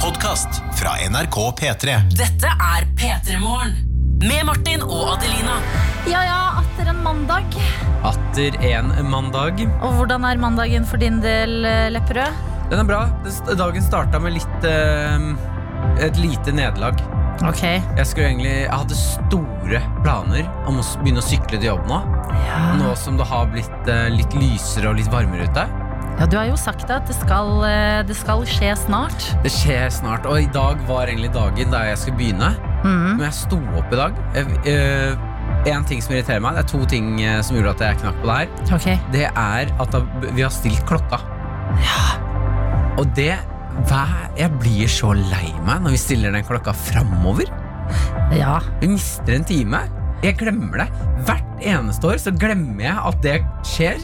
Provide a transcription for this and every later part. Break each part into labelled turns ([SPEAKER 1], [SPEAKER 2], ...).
[SPEAKER 1] podkast fra NRK P3.
[SPEAKER 2] Dette er P3 Morgen. Med Martin og Adelina.
[SPEAKER 3] Ja ja, atter en mandag.
[SPEAKER 4] Atter en mandag.
[SPEAKER 3] Og hvordan er mandagen for din del, eh, Lepperød?
[SPEAKER 4] Den er bra. Den st- Dagen starta med litt eh, et lite nederlag.
[SPEAKER 3] Ok.
[SPEAKER 4] Jeg, skulle egentlig, jeg hadde store planer om å s- begynne å sykle til jobb nå. Nå som det har blitt eh, litt lysere og litt varmere ute.
[SPEAKER 3] Ja, du har jo sagt at det skal, eh, det skal skje snart.
[SPEAKER 4] Det skjer snart. Og i dag var egentlig dagen da jeg skulle begynne.
[SPEAKER 3] Mhm.
[SPEAKER 4] Men jeg sto opp i dag. Én ting som irriterer meg, det er to ting eh, som gjorde at jeg knakk på det her.
[SPEAKER 3] Ok.
[SPEAKER 4] det er at da, vi har stilt klokka. Og det hva, Jeg blir så lei meg når vi stiller den klokka framover.
[SPEAKER 3] Ja.
[SPEAKER 4] Vi mister en time. Jeg glemmer det. Hvert eneste år så glemmer jeg at det skjer.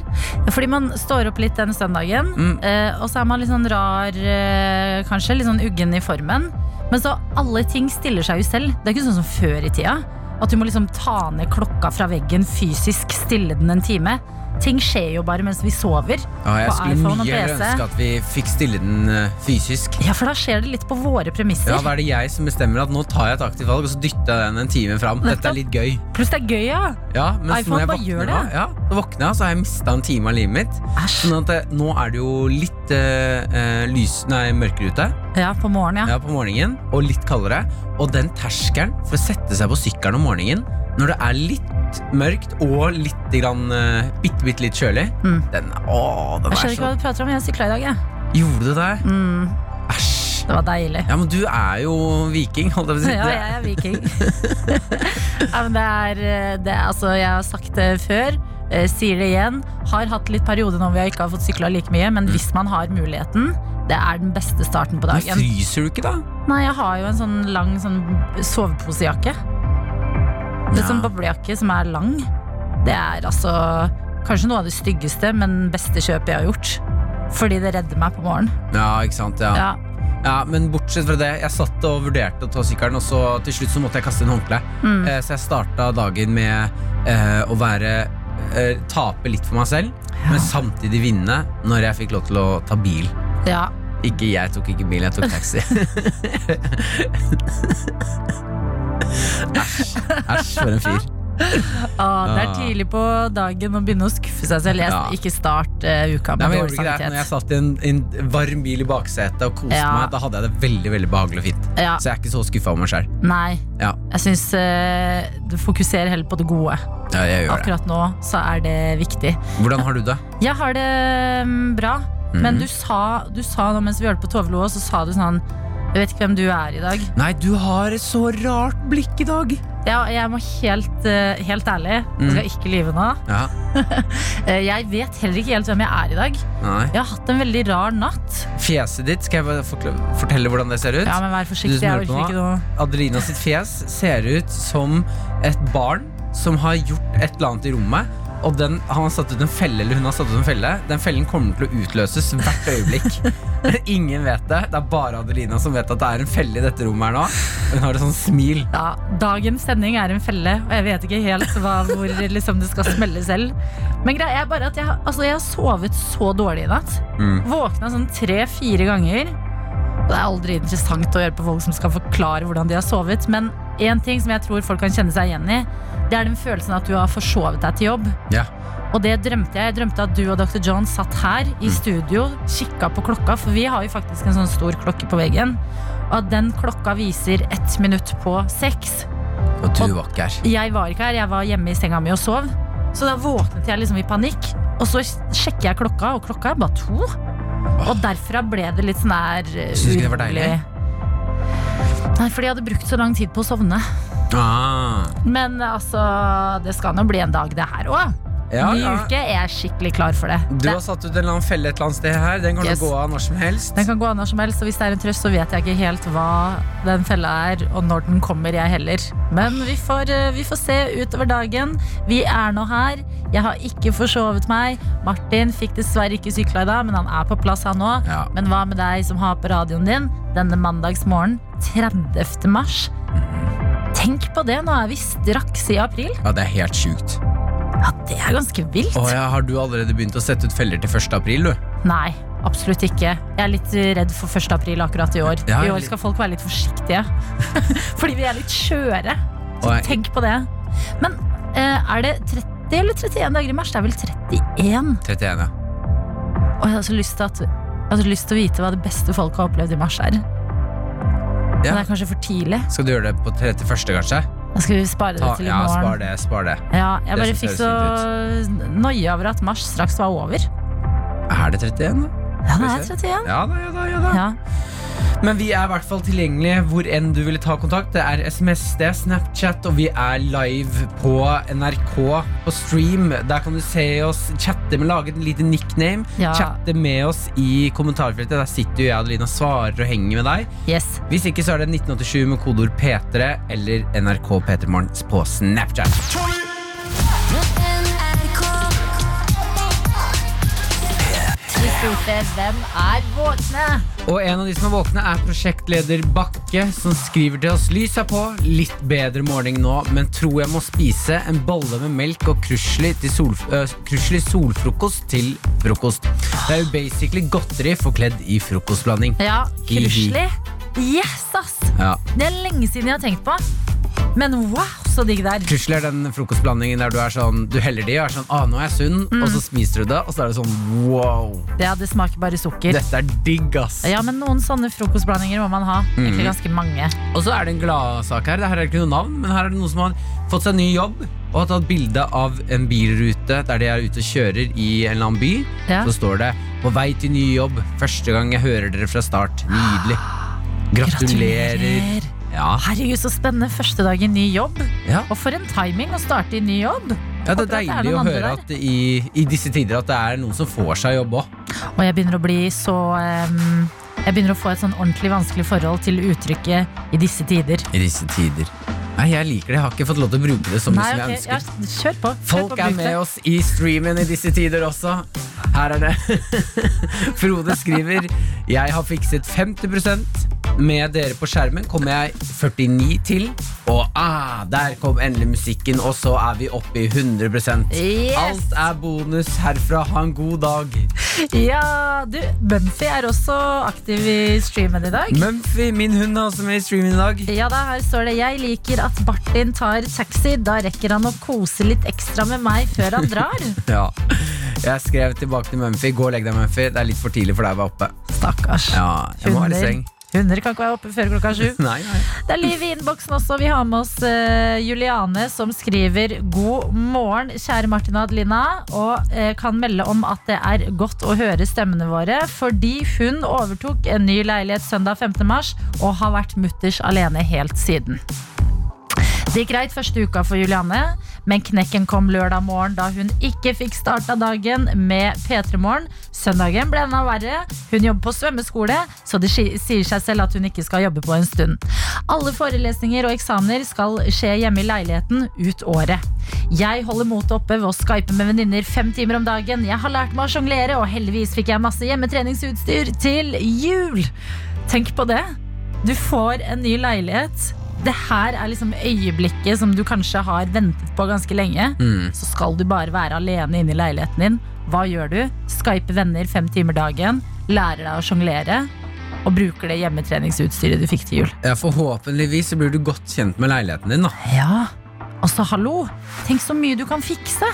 [SPEAKER 3] Fordi man står opp litt den søndagen,
[SPEAKER 4] Mm.
[SPEAKER 3] eh, og så er man litt sånn rar, eh, kanskje. Litt sånn uggen i formen. Men så alle ting stiller seg jo selv. Det er ikke sånn som før i tida. At du må liksom ta ned klokka fra veggen fysisk, stille den en time. Ting skjer jo bare mens vi sover.
[SPEAKER 4] Ja, jeg
[SPEAKER 3] På
[SPEAKER 4] skulle
[SPEAKER 3] iPhone og
[SPEAKER 4] mye heller
[SPEAKER 3] PC.
[SPEAKER 4] ønske at vi fikk stille den eh, fysisk.
[SPEAKER 3] Ja, for da skjer det litt på våre premisser.
[SPEAKER 4] Ja, Da er det jeg som bestemmer at nå tar jeg et aktivt valg, og så dytter jeg den en time fram. Dette
[SPEAKER 3] Nettopp.
[SPEAKER 4] er litt gøy.
[SPEAKER 3] Pluss det er gøy, ja.
[SPEAKER 4] Ja, mens
[SPEAKER 3] iPhone
[SPEAKER 4] når jeg
[SPEAKER 3] bare
[SPEAKER 4] våkner
[SPEAKER 3] gjør
[SPEAKER 4] nå,
[SPEAKER 3] det.
[SPEAKER 4] ja, da våkner jeg, og så har jeg mista en time av livet mitt.
[SPEAKER 3] Æsj.
[SPEAKER 4] Sånn at det, nå er det jo litt eh, eh, lys, nei, mørkere ute
[SPEAKER 3] Ja, på morgenen, ja.
[SPEAKER 4] ja, på morgenen, og litt kaldere. Og den terskelen for å sette seg på sykkelen om morgenen når det er litt mørkt og litt grann, eh, bitte, bitte litt kjølig
[SPEAKER 3] Mm.
[SPEAKER 4] den, Åh, den
[SPEAKER 3] Jeg
[SPEAKER 4] er
[SPEAKER 3] skjønner ikke
[SPEAKER 4] så
[SPEAKER 3] hva du prater om, jeg sykla i dag, jeg.
[SPEAKER 4] Gjorde du det?
[SPEAKER 3] Mm,
[SPEAKER 4] Æsj.
[SPEAKER 3] det var deilig.
[SPEAKER 4] Ja, men du er jo viking, holdt jeg på å si.
[SPEAKER 3] Ja, jeg er viking. ja, men det er, eh, det er Altså, jeg har sagt det før, eh, sier det igjen. Har hatt litt periode nå hvor jeg ikke har fått sykla like mye,
[SPEAKER 4] Mm.
[SPEAKER 3] men hvis man har muligheten, det er den beste starten på
[SPEAKER 4] Men
[SPEAKER 3] dagen.
[SPEAKER 4] fryser du ikke, da?
[SPEAKER 3] Nei, jeg har jo en sånn lang sånn soveposejakke. Det er
[SPEAKER 4] Ja.
[SPEAKER 3] sånn boblejakke som er lang. Det er altså kanskje noe av det styggeste, men beste kjøpet jeg har gjort. Fordi det redder meg på morgenen.
[SPEAKER 4] Ja, ikke sant. Ja.
[SPEAKER 3] Ja.
[SPEAKER 4] Ja, men bortsett fra det, jeg satt og vurderte å ta sykkelen, og så til slutt så måtte jeg kaste inn håndkle.
[SPEAKER 3] Mm.
[SPEAKER 4] Eh, Så jeg starta dagen med eh, å være eh, Tape litt for meg selv, men samtidig vinne når jeg fikk lov til å ta bil.
[SPEAKER 3] ja.
[SPEAKER 4] Ikke jeg tok ikke bil, jeg tok taxi. Æsj. Æsj, for en fyr.
[SPEAKER 3] Ah, det er
[SPEAKER 4] Ah.
[SPEAKER 3] tidlig på dagen å begynne å skuffe seg selv. Jeg,
[SPEAKER 4] Ja.
[SPEAKER 3] Ikke start eh, uka
[SPEAKER 4] Nei,
[SPEAKER 3] med
[SPEAKER 4] men jeg
[SPEAKER 3] dårlig
[SPEAKER 4] gjorde ikke det. Når jeg
[SPEAKER 3] samvittighet.
[SPEAKER 4] satt i en, en varm bil i baksetet og koste
[SPEAKER 3] Ja.
[SPEAKER 4] meg, da hadde jeg det veldig veldig behagelig og fint.
[SPEAKER 3] Ja,
[SPEAKER 4] Så jeg er ikke så skuffa over meg sjøl.
[SPEAKER 3] nei,
[SPEAKER 4] Ja,
[SPEAKER 3] jeg syns du fokuserer heller på det gode.
[SPEAKER 4] ja, jeg gjør det.
[SPEAKER 3] Akkurat nå så er det viktig.
[SPEAKER 4] Hvordan har du det?
[SPEAKER 3] Jeg har det mm, bra,
[SPEAKER 4] Mhm.
[SPEAKER 3] men du sa, du sa nå mens vi hørte på Tove Lo, så sa du sånn Jeg vet ikke hvem du er i dag.
[SPEAKER 4] Nei, du har et så rart blikk i dag.
[SPEAKER 3] Jeg, jeg må helt, eh, helt ærlig,
[SPEAKER 4] Mhm.
[SPEAKER 3] jeg skal ikke lyve nå.
[SPEAKER 4] Ja,
[SPEAKER 3] Eh, Jeg vet heller ikke helt hvem jeg er i dag.
[SPEAKER 4] nei
[SPEAKER 3] Jeg har hatt en veldig rar natt.
[SPEAKER 4] Fjeset ditt, skal jeg bare forkla- fortelle hvordan det ser ut?
[SPEAKER 3] Ja, men vær
[SPEAKER 4] Du
[SPEAKER 3] forsiktig.
[SPEAKER 4] som hører
[SPEAKER 3] Jeg
[SPEAKER 4] på
[SPEAKER 3] orker
[SPEAKER 4] nå.
[SPEAKER 3] ikke noe
[SPEAKER 4] Adelina sitt fjes ser ut som et barn som har gjort et eller annet i rommet. Og den, han har satt ut en felle, eller hun har satt ut en felle. Den fellen kommer til å utløses hvert øyeblikk. Ingen vet det. Det er bare Adelina som vet at det er en felle i dette rommet her nå. Hun har et sånt smil.
[SPEAKER 3] Ja, dagens sending er en felle, og jeg vet ikke helt hva, hvor liksom, det skal smelle selv. Men greia er bare at jeg, har- altså, jeg har sovet så dårlig i natt.
[SPEAKER 4] Mm.
[SPEAKER 3] Våkna sånn tre-fire ganger. Og Det er aldri interessant å høre på folk som skal forklare hvordan de har sovet, men én ting som jeg tror folk kan kjenne seg igjen i, det er den følelsen at du har forsovet deg til jobb.
[SPEAKER 4] Ja.
[SPEAKER 3] Og det drømte jeg. Jeg drømte at du og dr. John satt her i studio, kikka på klokka, for vi har jo faktisk en sånn stor klokke på veggen. Og at den klokka viser ett minutt på seks.
[SPEAKER 4] Og du var ikke her.
[SPEAKER 3] Jeg var ikke her, jeg var hjemme i senga mi og sov. Så da våknet jeg liksom i panikk. Og så sjekker jeg klokka, og klokka er bare to. Og derfra ble det litt sånn her eh,
[SPEAKER 4] Synes du ikke det var deilig?
[SPEAKER 3] Nei, fordi jeg hadde brukt så lang tid på å sovne.
[SPEAKER 4] Ah.
[SPEAKER 3] Men altså, det skal nå bli en dag, det her òg.
[SPEAKER 4] Ja,
[SPEAKER 3] Ny
[SPEAKER 4] ja.
[SPEAKER 3] uke er jeg skikkelig klar for det.
[SPEAKER 4] Du
[SPEAKER 3] det
[SPEAKER 4] har satt ut en eller annen felle et eller annet sted her. Den kan
[SPEAKER 3] Yes.
[SPEAKER 4] du gå av når som helst.
[SPEAKER 3] Den kan gå av når som helst, og hvis det er en trøst, så vet jeg ikke helt hva den fella er, og når den kommer, jeg heller. Men vi får, eh, vi får se utover dagen. Vi er nå her. Jeg har ikke forsovet meg. Martin fikk dessverre ikke sykla i dag, men han er på plass, han òg.
[SPEAKER 4] Ja.
[SPEAKER 3] Men hva med deg som har på radioen din denne mandagsmorgen 30. mars? Tenk på det, nå er vi straks i april.
[SPEAKER 4] Ja, det er helt sjukt.
[SPEAKER 3] Ja, det er ganske vilt.
[SPEAKER 4] Å, ja, har du allerede begynt å sette ut feller til 1. april, du?
[SPEAKER 3] Nei, Absolutt ikke. Jeg er litt eh, redd for 1. april akkurat i år.
[SPEAKER 4] Ja,
[SPEAKER 3] I år
[SPEAKER 4] litt-
[SPEAKER 3] skal folk være litt forsiktige. Fordi vi er litt skjøre. Så
[SPEAKER 4] Og jeg-
[SPEAKER 3] tenk på det. Men eh, er det 30 eller 31 dager i mars? Det er vel 31?
[SPEAKER 4] 31, ja.
[SPEAKER 3] Og jeg har så lyst til, at, jeg har så lyst til å vite hva det beste folk har opplevd i mars er. Men det
[SPEAKER 4] ja.
[SPEAKER 3] er kanskje for tidlig.
[SPEAKER 4] Skal du gjøre det på 31., kanskje?
[SPEAKER 3] Da skal vi spare det
[SPEAKER 4] Ta,
[SPEAKER 3] til i
[SPEAKER 4] ja, spar
[SPEAKER 3] morgen.
[SPEAKER 4] det. spar det
[SPEAKER 3] Ja, jeg
[SPEAKER 4] Det
[SPEAKER 3] bare
[SPEAKER 4] synes
[SPEAKER 3] fikk
[SPEAKER 4] jeg
[SPEAKER 3] så
[SPEAKER 4] høres
[SPEAKER 3] noia over at mars straks var over.
[SPEAKER 4] Er det 31, da?
[SPEAKER 3] Ja, det
[SPEAKER 4] Skal vi
[SPEAKER 3] er
[SPEAKER 4] se.
[SPEAKER 3] 31.
[SPEAKER 4] Ja da, ja da. ja da
[SPEAKER 3] Ja.
[SPEAKER 4] Men vi er i hvert fall tilgjengelige hvor enn du ville ta kontakt. Det er SMS, det er Snapchat, og vi er live på NRK på stream. Der kan du se oss, chatte med, lage et lite nickname.
[SPEAKER 3] Ja.
[SPEAKER 4] Chatte med oss i kommentarfeltet. Der sitter jo jeg og Adelina og svarer og henger med deg.
[SPEAKER 3] Yes.
[SPEAKER 4] Hvis ikke, så er det 1987 med kodeord P3 eller NRK P3morgen på Snapchat.
[SPEAKER 3] Vi spurte hvem er våkne?
[SPEAKER 4] Og en av de som er våkne, er prosjektleder Bakke, som skriver til oss lys er på. Litt bedre morgen nå, men tror jeg må spise en bolle med melk og krusli, til sol, ø, krusli solfrokost til frokost. Det er jo basically godteri forkledd i frokostblanding.
[SPEAKER 3] Ja,
[SPEAKER 4] Hihi.
[SPEAKER 3] krusli. Yes, ass!
[SPEAKER 4] Ja.
[SPEAKER 3] Det er lenge siden jeg har tenkt på. Men wow, så digg det er.
[SPEAKER 4] Krusli er den frokostblandingen der du er sånn Du heller det i og er sånn ah, nå er jeg sunn,
[SPEAKER 3] Mm.
[SPEAKER 4] og så spiser du det, og så er det sånn wow.
[SPEAKER 3] Ja, det smaker bare sukker.
[SPEAKER 4] Dette er digg, ass.
[SPEAKER 3] Ja, men noen sånne frokostblandinger må man ha.
[SPEAKER 4] Mm.
[SPEAKER 3] Egentlig ganske mange.
[SPEAKER 4] Og så er det en gladsak her. Det her er ikke noe navn, men her er det noen som har fått seg ny jobb og har tatt bilde av en bilrute der de er ute og kjører i en eller annen by.
[SPEAKER 3] Ja.
[SPEAKER 4] Så står det 'På vei til ny jobb. Første gang jeg hører dere fra start'. Nydelig. Gratulerer. Ja.
[SPEAKER 3] Herregud, så spennende. Første dag i ny jobb.
[SPEAKER 4] Ja.
[SPEAKER 3] Og for en timing å starte i ny jobb. Håper
[SPEAKER 4] ja, det er
[SPEAKER 3] at det er
[SPEAKER 4] deilig
[SPEAKER 3] noen
[SPEAKER 4] å
[SPEAKER 3] andre
[SPEAKER 4] høre
[SPEAKER 3] der.
[SPEAKER 4] at i, i disse tider at det er noen som får seg jobb òg.
[SPEAKER 3] Og jeg begynner å bli så em, Jeg begynner å få et sånn ordentlig vanskelig forhold til uttrykket 'i disse tider'.
[SPEAKER 4] I disse tider. Nei, jeg liker det. Jeg har ikke fått lov til å bruke det så mye
[SPEAKER 3] Nei,
[SPEAKER 4] som liksom
[SPEAKER 3] ok,
[SPEAKER 4] jeg ønsker.
[SPEAKER 3] ja, kjør på. Kjør
[SPEAKER 4] Folk
[SPEAKER 3] på,
[SPEAKER 4] er
[SPEAKER 3] bruk
[SPEAKER 4] med
[SPEAKER 3] det.
[SPEAKER 4] oss i streamen i disse tider også. Her er det. Frode skriver Jeg har fikset 50 med dere på skjermen kommer jeg 49 til, og ah, der kom endelig musikken, og så er vi oppe i 100
[SPEAKER 3] Yes!
[SPEAKER 4] Alt er bonus herfra. Ha en god dag.
[SPEAKER 3] Ja, du, Mumphy er også aktiv i streamen i dag.
[SPEAKER 4] Mumphy, min hund, er også med i streamen i dag.
[SPEAKER 3] Ja da, her står det Jeg liker at Bartin tar taxi. Da rekker han å kose litt ekstra med meg før han drar.
[SPEAKER 4] Ja. Jeg skrev tilbake til Mumphy. Gå og legg deg, Mumphy. Det er litt for tidlig for deg å være oppe.
[SPEAKER 3] Stakkars.
[SPEAKER 4] Ja, jeg må være i seng.
[SPEAKER 3] Hunder kan ikke være oppe før klokka sju.
[SPEAKER 4] Nei, nei.
[SPEAKER 3] Det er liv i innboksen også. Vi har med oss eh, Juliane som skriver God morgen, kjære Martin og Adelina. Og eh, kan melde om at det er godt å høre stemmene våre. Fordi hun overtok en ny leilighet søndag 15. mars og har vært mutters alene helt siden. Det gikk greit første uka for Juliane, men knekken kom lørdag morgen da hun ikke fikk starta dagen med P3 Morgen. Søndagen ble enda verre. Hun jobber på svømmeskole, så det si- sier seg selv at hun ikke skal jobbe på en stund. Alle forelesninger og eksamener skal skje hjemme i leiligheten ut året. Jeg holder motet oppe ved å skype med venninner fem timer om dagen. Jeg har lært meg å sjonglere, og heldigvis fikk jeg masse hjemmetreningsutstyr til jul. Tenk på det. Du får en ny leilighet. Det her er liksom øyeblikket som du kanskje har ventet på ganske lenge. Så skal du bare være alene inne i leiligheten din. Hva gjør du? Skype venner fem timer dagen. Lærer deg å sjonglere. Og bruker det hjemmetreningsutstyret du fikk til jul.
[SPEAKER 4] Ja, Forhåpentligvis så blir du godt kjent med leiligheten din. da
[SPEAKER 3] Ja, altså hallo Tenk så mye du kan fikse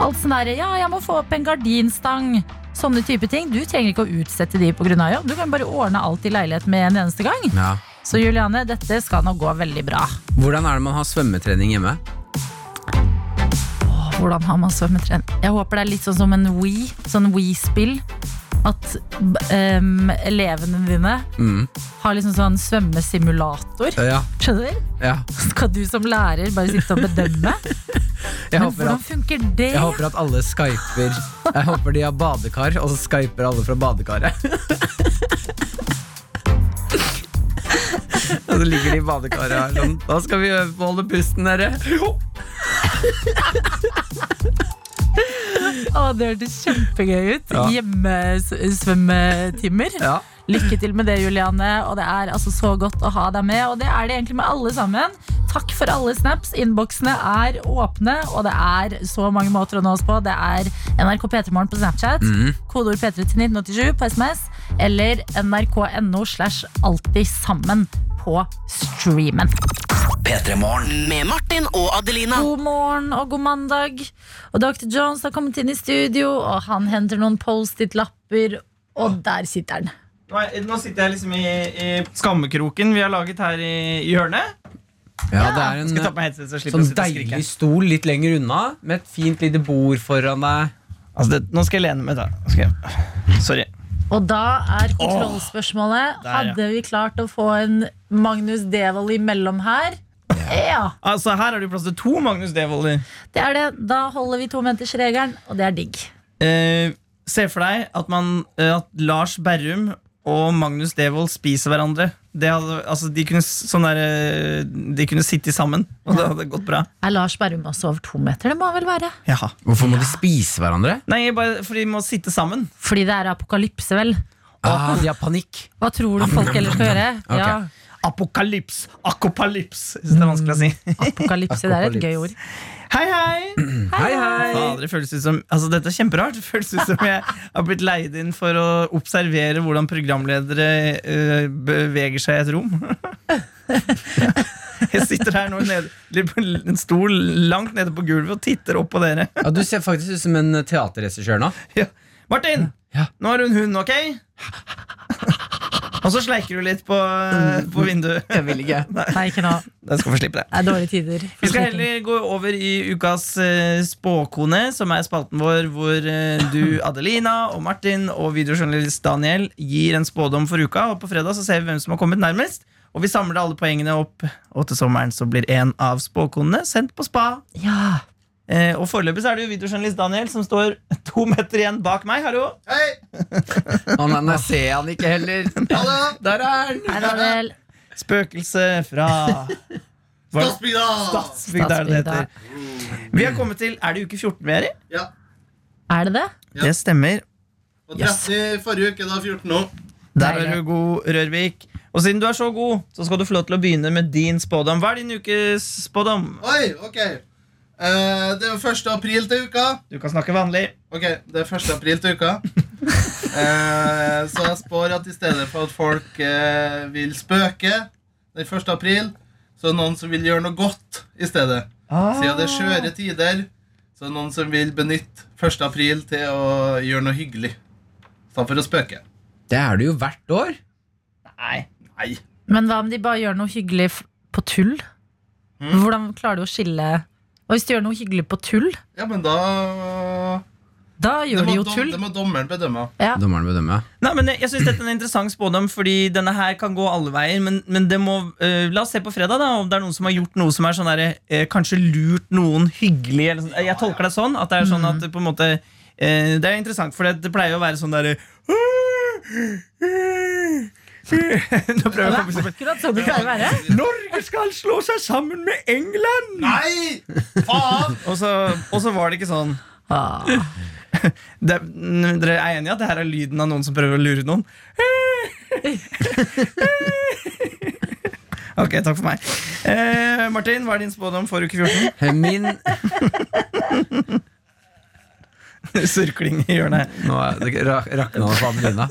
[SPEAKER 3] Alt sånn der, ja jeg må få opp en gardinstang Sånne type ting Du trenger ikke å utsette de på grunn av jobb Du kan bare ordne alt i leilighet med en eneste gang Så Juliane, dette skal nå gå veldig bra
[SPEAKER 4] Hvordan er det man har svømmetrening hjemme?
[SPEAKER 3] Hvordan har man svømmetrening? Jeg håper det er litt sånn som en Wii Sånn Wii-spill At b- em, elevene dine
[SPEAKER 4] Mm. Eh.
[SPEAKER 3] Har liksom sånn svømmesimulator
[SPEAKER 4] Ja,
[SPEAKER 3] Skjønner?
[SPEAKER 4] ja.
[SPEAKER 3] Så skal du som lærer bare sitte og bedømme
[SPEAKER 4] Jeg,
[SPEAKER 3] Men
[SPEAKER 4] håper
[SPEAKER 3] hvordan
[SPEAKER 4] at,
[SPEAKER 3] funker det?
[SPEAKER 4] jeg håper at alle skyper Jeg håper de har badekar, og så skyper alle fra badekaret. Og så ligger de i badekaret her sånn. Da skal vi øve på å holde pusten, dere.
[SPEAKER 3] Å, det hørtes kjempegøy ut.
[SPEAKER 4] Ja.
[SPEAKER 3] Hjemmesvømmetimer.
[SPEAKER 4] Ja.
[SPEAKER 3] Lykke til med det, Juliane. Og det er altså så godt å ha deg med. Og det er det egentlig med alle sammen. Takk for alle snaps. Innboksene er åpne, og det er så mange måter å nå oss på. Det er NRK P3morgen på Snapchat, kodeord P3 til 1987 på SMS, eller nrk.no slash alltid sammen på streamen.
[SPEAKER 2] Med Martin og Adelina.
[SPEAKER 3] God morgen og god mandag. Og Dr. Jones har kommet inn i studio, og han henter noen Post-It-lapper, og der sitter han.
[SPEAKER 5] Nå, er, nå sitter jeg liksom i, i skammekroken vi har laget her i, i hjørnet.
[SPEAKER 4] Ja, det er
[SPEAKER 5] Skal jeg ta
[SPEAKER 4] en
[SPEAKER 5] på meg headset, så slipper
[SPEAKER 4] sånn
[SPEAKER 5] jeg å sitte og skrike.
[SPEAKER 4] deilig stol litt lenger unna, med et fint lite bord foran deg.
[SPEAKER 5] Altså, det, nå skal jeg lene meg, da. Nå Skal jeg. Sorry.
[SPEAKER 3] Og da er kontrollspørsmålet
[SPEAKER 5] der, ja.
[SPEAKER 3] Hadde vi klart å få en Magnus Devold imellom her? Ja,
[SPEAKER 5] Altså, her har du plass til to Magnus Devolder.
[SPEAKER 3] det er det. Da holder vi tometersregelen, og det er digg.
[SPEAKER 5] Eh, se for deg at, man, eh, at Lars Berrum og Magnus Devold spiser hverandre. Det hadde, altså, de, kunne, s- sånn der, eh, de kunne sitte sammen, og det hadde gått bra.
[SPEAKER 3] Er Lars Berrum også over to meter? Det må han vel være?
[SPEAKER 5] Jaha.
[SPEAKER 4] Hvorfor må de spise hverandre?
[SPEAKER 5] Nei, bare for de må sitte sammen.
[SPEAKER 3] Fordi det er apokalypse, vel?
[SPEAKER 4] Ah, de har panikk.
[SPEAKER 3] Hva tror du folk ellers skal gjøre?
[SPEAKER 4] Ok.
[SPEAKER 3] Ja,
[SPEAKER 5] Apokalyps! Akopalyps! Jeg synes det er vanskelig å si.
[SPEAKER 3] apokalypse, det er et gøy ord.
[SPEAKER 5] Hei, hei!
[SPEAKER 4] Hei, hei!
[SPEAKER 5] Fader, det føles ut som, altså, dette er kjemperart. Det føles ut som jeg har blitt leid inn for å observere hvordan programledere eh, beveger seg i et rom. Jeg sitter her nå nede, litt på en stol langt nede på gulvet og titter opp på dere.
[SPEAKER 4] Ja, du ser faktisk ut som en teaterregissør nå.
[SPEAKER 5] Ja. Martin!
[SPEAKER 4] Ja.
[SPEAKER 5] Nå har du en hund, ok? Og så sleiker du litt på, eh, på vinduet.
[SPEAKER 4] Mm. Jeg vil ikke.
[SPEAKER 3] Nei, ikke nå.
[SPEAKER 5] Jeg skal få slippe det.
[SPEAKER 3] Det er dårlige tider.
[SPEAKER 5] Vi skal heller gå over i ukas eh, spåkone, som er spalten vår hvor eh, du, Adelina og Martin og videojournalist Daniel gir en spådom for uka. Og På fredag så ser vi hvem som har kommet nærmest. Og vi samler alle poengene opp, og til sommeren så blir en av spåkonene sendt på spa.
[SPEAKER 3] Ja.
[SPEAKER 5] Eh, og Foreløpig så er det jo videojournalist Daniel som står to meter igjen bak meg. Hallo!
[SPEAKER 6] Hei!
[SPEAKER 4] Å nei, nei, ser han ikke heller.
[SPEAKER 6] Hallo!
[SPEAKER 4] Der er han!
[SPEAKER 3] Hei, Daniel.
[SPEAKER 5] Spøkelse fra Hva er det?
[SPEAKER 6] Stadsbygda!
[SPEAKER 5] Statsbygda, er det det heter. Vi har kommet til Er det uke 14 vi er i?
[SPEAKER 6] Ja.
[SPEAKER 3] Er det det?
[SPEAKER 6] Ja.
[SPEAKER 5] Det stemmer.
[SPEAKER 6] Og
[SPEAKER 5] Yes.
[SPEAKER 6] 30 forrige uke, da 14 nå.
[SPEAKER 5] Der er
[SPEAKER 3] Deilig.
[SPEAKER 5] du god, Rørvik. Og siden du er så god, så skal du få lov til å begynne med din spådom. Hva er din ukes spådom?
[SPEAKER 6] Oi, ok. Eh, det er jo 1. april til uka.
[SPEAKER 5] Du kan snakke vanlig.
[SPEAKER 6] Ok, det er 1. april til uka. Eh, så jeg spår at i stedet for at folk eh, vil spøke den 1. april, så er det noen som vil gjøre noe godt i stedet. Siden det er skjøre tider, så er det noen som vil benytte 1. april til å gjøre noe hyggelig. I stedet for å spøke.
[SPEAKER 4] Det er du jo hvert år.
[SPEAKER 5] Nei.
[SPEAKER 6] Nei.
[SPEAKER 3] Men hva om de bare gjør noe hyggelig f- på tull?
[SPEAKER 5] Mm.
[SPEAKER 3] Hvordan klarer du å skille Og hvis de gjør noe hyggelig på tull,
[SPEAKER 6] Ja, men da
[SPEAKER 3] da gjør de
[SPEAKER 6] må
[SPEAKER 3] jo
[SPEAKER 6] dom-
[SPEAKER 3] tull.
[SPEAKER 6] Det må dommeren bedømme.
[SPEAKER 3] Ja.
[SPEAKER 4] Dommeren bedømmer.
[SPEAKER 5] Nei, men Jeg, jeg syns dette er en interessant spådom, fordi denne her kan gå alle veier. Men, men det må, eh, la oss se på fredag da, om det er noen som har gjort noe som er sånn der, eh, kanskje lurt noen hyggelig. Eller sånn. Jeg tolker det sånn. At det er sånn at det på en måte eh, Det er interessant, for det, det pleier jo å være sånn derre Nå prøver jeg å komme seg
[SPEAKER 3] Akkurat sånn det pleier å være.
[SPEAKER 5] Norge skal slå seg sammen med England!
[SPEAKER 6] Nei! Faen!
[SPEAKER 5] Og så, og så var det ikke sånn.
[SPEAKER 3] Ah,
[SPEAKER 5] Det, n- dere er enige i at det her er lyden av noen som prøver å lure noen? Ok, takk for meg. Eh, Martin, hva er din spådom for uke 14?
[SPEAKER 4] Min
[SPEAKER 5] Surkling i hjørnet.
[SPEAKER 4] Nå er det ra- rakna det på Adelina.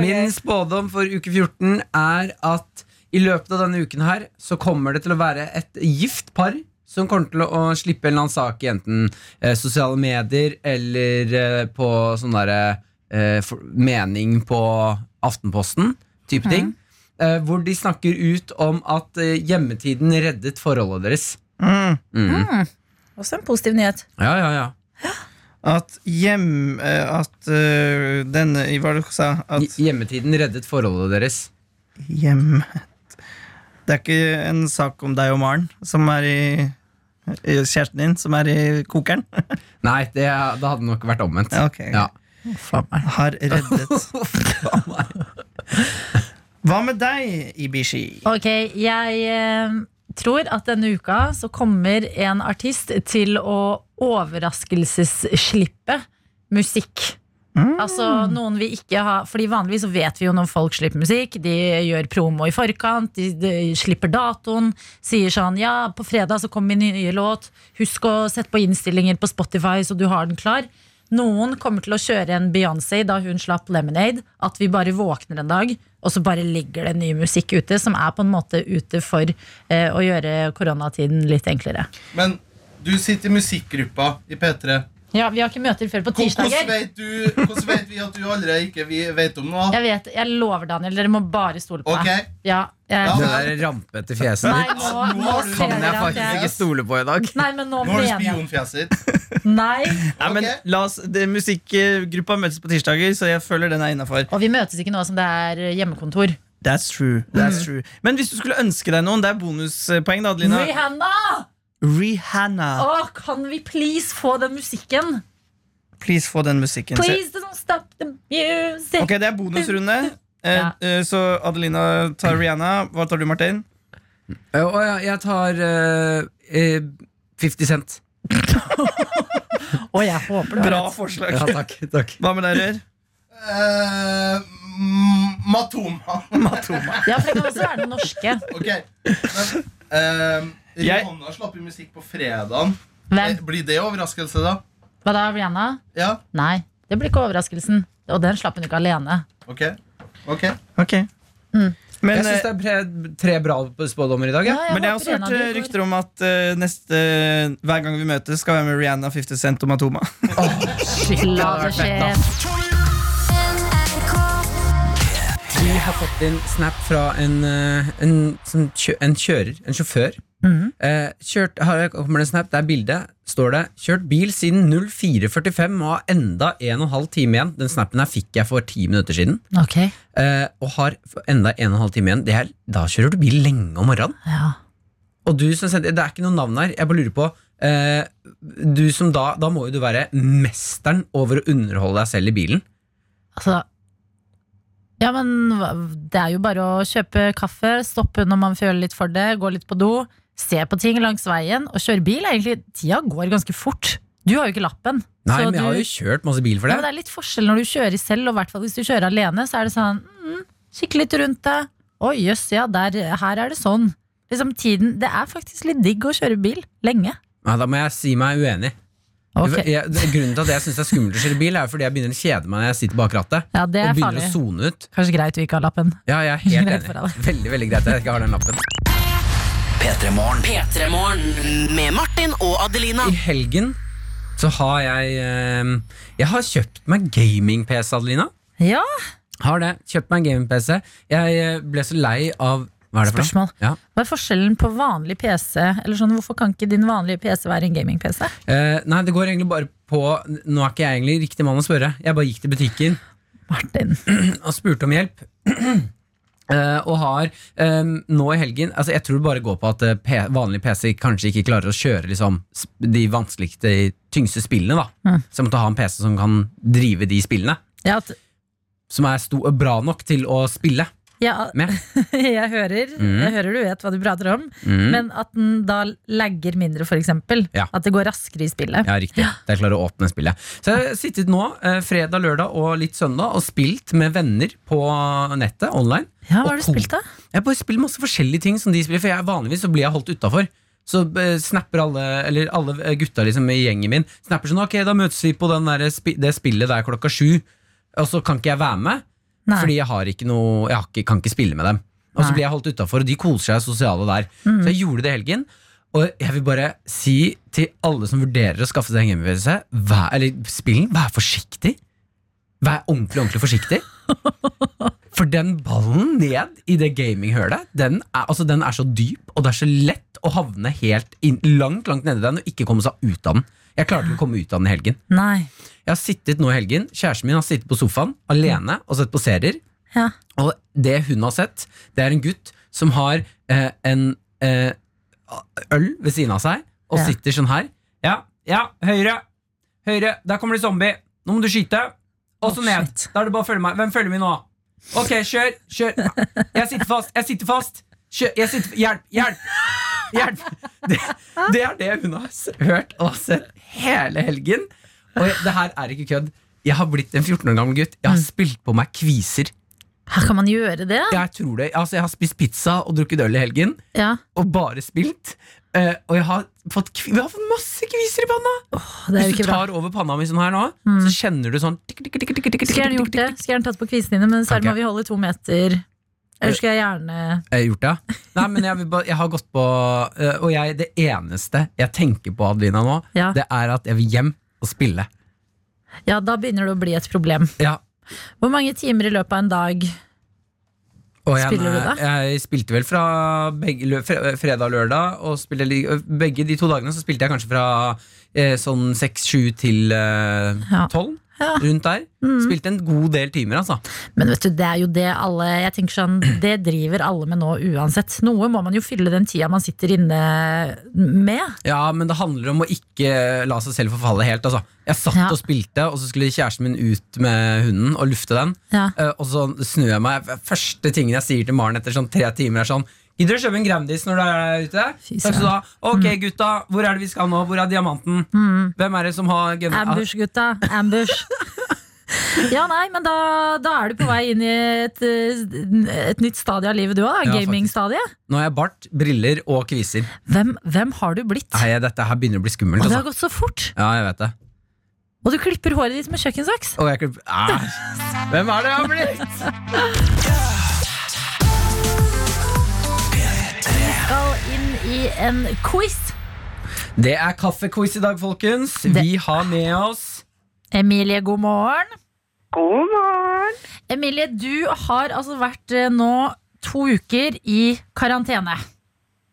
[SPEAKER 4] Min spådom for uke 14 er at i løpet av denne uken her så kommer det til å være et gift par som kommer til å slippe en eller annen sak i enten eh, sosiale medier eller eh, på sånn derre eh, for- mening på Aftenposten type ting. Eh, hvor de snakker ut om at eh, hjemmetiden reddet forholdet deres.
[SPEAKER 5] Mm.
[SPEAKER 4] Mm.
[SPEAKER 3] også en positiv nyhet.
[SPEAKER 4] Ja, ja, ja.
[SPEAKER 5] At hjem... eh, At eh, denne Hva var det du sa? At
[SPEAKER 4] Hj- Hjemmetiden reddet forholdet deres.
[SPEAKER 5] hjem Det er ikke en sak om deg og Maren, som er i i Kjæresten din, som er i kokeren?
[SPEAKER 4] Nei, det, det hadde nok vært omvendt.
[SPEAKER 5] Ja, ok, ok.
[SPEAKER 4] Ja.
[SPEAKER 5] Har reddet. Hva med deg, Ibishi?
[SPEAKER 3] Ok, jeg eh, tror at denne uka så kommer en artist til å overraskelsesslippe musikk. Altså noen vi ikke har Fordi vanligvis så vet vi jo når folk slipper musikk De gjør promo i forkant De, de slipper datoen Sier sånn, ja på fredag så kommer min nye låt Husk å sette på innstillinger på Spotify Så du har den klar Noen kommer til å kjøre en Beyoncé Da hun slapp Lemonade At vi bare våkner en dag Og så bare ligger det ny musikk ute Som er på en måte ute for eh, Å gjøre koronatiden litt enklere
[SPEAKER 6] Men du sitter i musikkgruppa i P3.
[SPEAKER 3] Ja, vi har ikke møter før på
[SPEAKER 6] Hvordan
[SPEAKER 3] tirsdager
[SPEAKER 6] vet, du, hvordan vet vi at du allerede ikke vi vet om noe?
[SPEAKER 3] Jeg vet, jeg lover Daniel Dere må bare stole på
[SPEAKER 6] Ok.
[SPEAKER 3] meg Ja, jeg,
[SPEAKER 6] Ja,
[SPEAKER 4] Det der rampete fjeset
[SPEAKER 3] Nei,
[SPEAKER 4] ditt
[SPEAKER 3] nå,
[SPEAKER 6] Ja, nå
[SPEAKER 3] nå
[SPEAKER 6] har du-
[SPEAKER 3] ser
[SPEAKER 4] kan jeg
[SPEAKER 3] dere at
[SPEAKER 4] faktisk
[SPEAKER 3] jeg
[SPEAKER 4] ikke stole på i dag.
[SPEAKER 3] Nei, men nå
[SPEAKER 6] Nå har du
[SPEAKER 3] mener jeg
[SPEAKER 6] spionfjeset ditt.
[SPEAKER 3] Nei,
[SPEAKER 5] Nei, men
[SPEAKER 6] Ok.
[SPEAKER 5] la oss, det, Musikkgruppa møtes på tirsdager, så jeg føler den er innafor.
[SPEAKER 3] og vi møtes ikke nå som det er hjemmekontor
[SPEAKER 5] That's true. That's
[SPEAKER 4] Mm.
[SPEAKER 5] true. Men hvis du skulle ønske deg noen, det er bonuspoeng, da, Adelina.
[SPEAKER 3] Rihanna!
[SPEAKER 5] Rihanna.
[SPEAKER 3] Å, kan vi please få den musikken?
[SPEAKER 5] Please få den musikken.
[SPEAKER 3] Please don't stop the music
[SPEAKER 5] Ok, det er bonusrunde. Eh,
[SPEAKER 3] Ja.
[SPEAKER 5] eh, Så Adelina tar Rihanna. Hva tar du, Martin?
[SPEAKER 4] Eh, Og ja, jeg tar eh, eh, 50 Cent.
[SPEAKER 3] Å, jeg håper det var
[SPEAKER 5] Bra
[SPEAKER 3] rett.
[SPEAKER 5] forslag.
[SPEAKER 4] Ja, takk, takk.
[SPEAKER 5] Hva med deg, Rør?
[SPEAKER 6] Eh, mm, Matoma.
[SPEAKER 5] Matoma.
[SPEAKER 3] Ja, for det kan også være den norske
[SPEAKER 6] Ok. Men, eh,
[SPEAKER 5] Jeg-
[SPEAKER 6] Rihanna slapp jo musikk på fredagen. Eh,
[SPEAKER 3] Hvem?
[SPEAKER 6] Blir det overraskelse, da?
[SPEAKER 3] Hva da, Rihanna?
[SPEAKER 6] Ja?
[SPEAKER 3] Nei, det blir ikke overraskelsen Og den slapp hun ikke alene
[SPEAKER 6] Ok. Ok.
[SPEAKER 5] Ok. Men,
[SPEAKER 4] Mm. Jeg syns
[SPEAKER 5] eh,
[SPEAKER 4] det er pre- tre bra spådommer i dag. Ja.
[SPEAKER 5] men jeg har også hørt eh, rykter om at eh, neste, hver gang vi møtes, skal være med Rihanna, 50 Cent og Matoma.
[SPEAKER 3] om La det skje
[SPEAKER 4] Vi har fått inn snap fra en, eh, en, som kjø, en kjører, en sjåfør. Eh, kjørt, her kommer det en snap, det er bildet. Står det 'Kjørt bil siden 04.45 og har enda 1 12 time igjen'. Den snappen her fikk jeg for ti minutter siden.
[SPEAKER 3] Ok,
[SPEAKER 4] eh, og har enda 1 12 time igjen. Det er, da kjører du bil lenge om morgenen.
[SPEAKER 3] ja
[SPEAKER 4] Og du som sendte, Det er ikke noe navn her. Jeg bare lurer på eh, du som da, da må jo du være mesteren over å underholde deg selv i bilen.
[SPEAKER 3] Altså Ja, men hva- det er jo bare å kjøpe kaffe, stoppe når man føler litt for det, gå litt på do, se på ting langs veien og kjøre bil. er Egentlig, tida går ganske fort. Du har jo ikke lappen.
[SPEAKER 4] Nei,
[SPEAKER 3] så
[SPEAKER 4] men jeg har
[SPEAKER 3] du-
[SPEAKER 4] jo kjørt masse bil for
[SPEAKER 3] ja,
[SPEAKER 4] det.
[SPEAKER 3] men det er litt forskjell når du kjører selv, og i hvert fall hvis du kjører alene, så er det sånn mm, Kikk litt rundt deg. Å jøss, ja, der, her er det sånn. Liksom tiden, Det er faktisk litt digg å kjøre bil lenge.
[SPEAKER 4] Nei, da må jeg si meg uenig.
[SPEAKER 3] Ok,
[SPEAKER 4] Jeg, grunnen til at jeg syns det er skummelt å kjøre bil, er fordi jeg begynner å kjede meg når jeg sitter bak rattet.
[SPEAKER 3] ja, Det
[SPEAKER 4] Og
[SPEAKER 3] er
[SPEAKER 4] begynner
[SPEAKER 3] farlig.
[SPEAKER 4] å sone ut.
[SPEAKER 3] Kanskje greit du ikke har lappen.
[SPEAKER 4] Ja, jeg er helt
[SPEAKER 3] Greit for
[SPEAKER 4] enig. Veldig veldig greit at jeg ikke har den lappen.
[SPEAKER 2] P3-morgen med Martin og Adelina.
[SPEAKER 4] I helgen så har jeg eh, Jeg har kjøpt meg gaming-PC, Adelina.
[SPEAKER 3] Ja,
[SPEAKER 4] Har det. Kjøpt meg en gaming-PC. Jeg eh, ble så lei av Hva er det for noe?
[SPEAKER 3] Spørsmål.
[SPEAKER 4] Ja.
[SPEAKER 3] Hva er forskjellen på vanlig PC? Eller sånn, Hvorfor kan ikke din vanlige PC være en gaming-PC?
[SPEAKER 4] Eh, nei, det går egentlig bare på Nå er ikke jeg egentlig riktig mann å spørre. Jeg bare gikk til butikken
[SPEAKER 3] Martin.
[SPEAKER 4] og spurte om hjelp. Eh, og har eh, nå i helgen altså Jeg tror det bare går på at eh, P vanlig PC kanskje ikke klarer å kjøre liksom, sp- de vanskeligste, tyngste spillene. da Så jeg måtte ha en PC som kan drive de spillene.
[SPEAKER 3] Ja, at,
[SPEAKER 4] Som er sto bra nok til å spille
[SPEAKER 3] ja,
[SPEAKER 4] med.
[SPEAKER 3] jeg, hører,
[SPEAKER 4] Mm.
[SPEAKER 3] jeg hører du vet hva du prater om, men at den da lagger mindre, f.eks.
[SPEAKER 4] Ja.
[SPEAKER 3] At det går raskere i spillet.
[SPEAKER 4] Ja, riktig. Det er klart å åpne spillet. Så jeg har sittet nå, eh, fredag, lørdag og litt søndag, og spilt med venner på nettet, online.
[SPEAKER 3] Ja, hva har
[SPEAKER 4] Og
[SPEAKER 3] du
[SPEAKER 4] kos-
[SPEAKER 3] spilt, da?
[SPEAKER 4] Jeg bare spiller masse forskjellige ting som de spiller, for jeg, vanligvis så blir jeg holdt utafor. Så eh, snapper alle Eller alle eh, gutta liksom i gjengen min Snapper sånn Ok, da møtes vi på den der, spi- det spillet der klokka sju. Og så kan ikke jeg være med,
[SPEAKER 3] Nei.
[SPEAKER 4] fordi jeg har ikke noe Jeg har ikke, kan ikke spille med dem. Og så
[SPEAKER 3] Nei. Mm.
[SPEAKER 4] blir jeg holdt utafor, og de koser seg sosiale der. Så jeg gjorde det i helgen. Og jeg vil bare si til alle som vurderer å skaffe seg en hjemmebevegelse, eller spillen, vær forsiktig. Vær ordentlig, ordentlig forsiktig. For den ballen ned i det gaminghølet, den er, altså, den er så dyp, og det er så lett å havne helt inn, langt langt nedi den og ikke komme seg ut av den. Jeg klarte ikke å komme ut av den i helgen.
[SPEAKER 3] Nei.
[SPEAKER 4] Jeg har sittet nå i helgen, Kjæresten min har sittet på sofaen alene og sett på serier.
[SPEAKER 3] Ja.
[SPEAKER 4] Og det hun har sett, det er en gutt som har eh, en eh, øl ved siden av seg og
[SPEAKER 3] Ja.
[SPEAKER 4] sitter sånn her. Ja, ja, høyre! Høyre! Der kommer det zombie! Nå må du skyte! Og så
[SPEAKER 3] Oh,
[SPEAKER 4] ned.
[SPEAKER 3] shit.
[SPEAKER 4] Da er det bare å følge meg. Hvem følger vi nå? Ok, kjør! Kjør! Jeg sitter fast! Jeg sitter fast! Kjør, jeg sitter, hjelp! Hjelp! Hjelp! Det, det er det hun har s- hørt og sett hele helgen. Og jeg- det her er ikke kødd. Jeg har blitt en 14 år gammel gutt. Jeg har
[SPEAKER 3] Mm.
[SPEAKER 4] spilt på meg kviser.
[SPEAKER 3] Her kan man gjøre det?
[SPEAKER 4] Jeg tror det, altså jeg har spist pizza og drukket øl i helgen,
[SPEAKER 3] Ja,
[SPEAKER 4] og bare spilt. Eh, og jeg har fått, kvi- jeg har fått masse kviser i panna!
[SPEAKER 3] det er jo
[SPEAKER 4] Hvis du
[SPEAKER 3] ikke bra. Mm.
[SPEAKER 4] tar over panna mi sånn her nå, så kjenner du sånn tikk, tikk, tikk, tikk, tikk,
[SPEAKER 3] Skulle gjerne gjort det. Skulle gjerne tatt på kvisene dine, men dessverre
[SPEAKER 4] Kan ikke.
[SPEAKER 3] må vi holde to meter.
[SPEAKER 4] Eh.
[SPEAKER 3] Eller skulle jeg gjerne
[SPEAKER 4] Jeg har gjort det, ja. Nei, men jeg, vil bare, jeg har gått på eh, Og jeg, det eneste jeg tenker på, Adelina, nå,
[SPEAKER 3] Ja.
[SPEAKER 4] det er at jeg vil hjem og spille.
[SPEAKER 3] Ja, da begynner det å bli et problem.
[SPEAKER 4] Ja.
[SPEAKER 3] Hvor mange timer i løpet av en dag?
[SPEAKER 4] Og jeg,
[SPEAKER 3] Spiller du da?
[SPEAKER 4] Jeg spilte vel fra begge, lø- fre- fredag og lørdag. Og spilte, li- begge de to dagene så spilte jeg kanskje fra eh, sånn seks-sju til eh,
[SPEAKER 3] Ja.
[SPEAKER 4] tolv.
[SPEAKER 3] Ja. Mm.
[SPEAKER 4] Rundt der. Spilte en god del timer, altså.
[SPEAKER 3] Men vet du, det er jo det alle Jeg tenker sånn, det driver alle med nå uansett. Noe må man jo fylle den tida man sitter inne med.
[SPEAKER 4] Ja, men det handler om å ikke la seg selv forfalle helt. Altså. Jeg satt
[SPEAKER 3] Ja.
[SPEAKER 4] og spilte, og så skulle kjæresten min ut med hunden og lufte den.
[SPEAKER 3] Ja.
[SPEAKER 4] Eh, og så snur jeg meg. Første tingen jeg sier til Maren etter sånn tre timer, er sånn Gidder du å kjøpe en Grandis når du er der ute?
[SPEAKER 3] Fy Mm.
[SPEAKER 4] Takk skal du ha. Ok, gutta, hvor er det vi skal nå? Hvor er diamanten? Hvem er det som har generert
[SPEAKER 3] Ambush, gutta. Ambush. Ja, nei, men da, da er du på vei inn i et, eh, et nytt stadie av livet du òg.
[SPEAKER 4] Ja, faktisk.
[SPEAKER 3] Gamingstadiet.
[SPEAKER 4] Nå har jeg bart, briller og kviser.
[SPEAKER 3] Hvem, hvem har du blitt?
[SPEAKER 4] Nei, dette her begynner å bli skummelt.
[SPEAKER 3] Og det har
[SPEAKER 4] Altså.
[SPEAKER 3] gått så fort.
[SPEAKER 4] Ja, jeg vet det.
[SPEAKER 3] Og du klipper håret ditt med kjøkkensaks.
[SPEAKER 4] Og jeg kan... Æsj.
[SPEAKER 5] Hvem er det jeg har blitt?
[SPEAKER 3] Skal inn i en quiz.
[SPEAKER 4] Det er kaffequiz i dag, folkens. Vi har med oss
[SPEAKER 3] Emilie, god morgen.
[SPEAKER 7] God morgen!
[SPEAKER 3] Emilie, du har altså vært eh, nå to uker i karantene.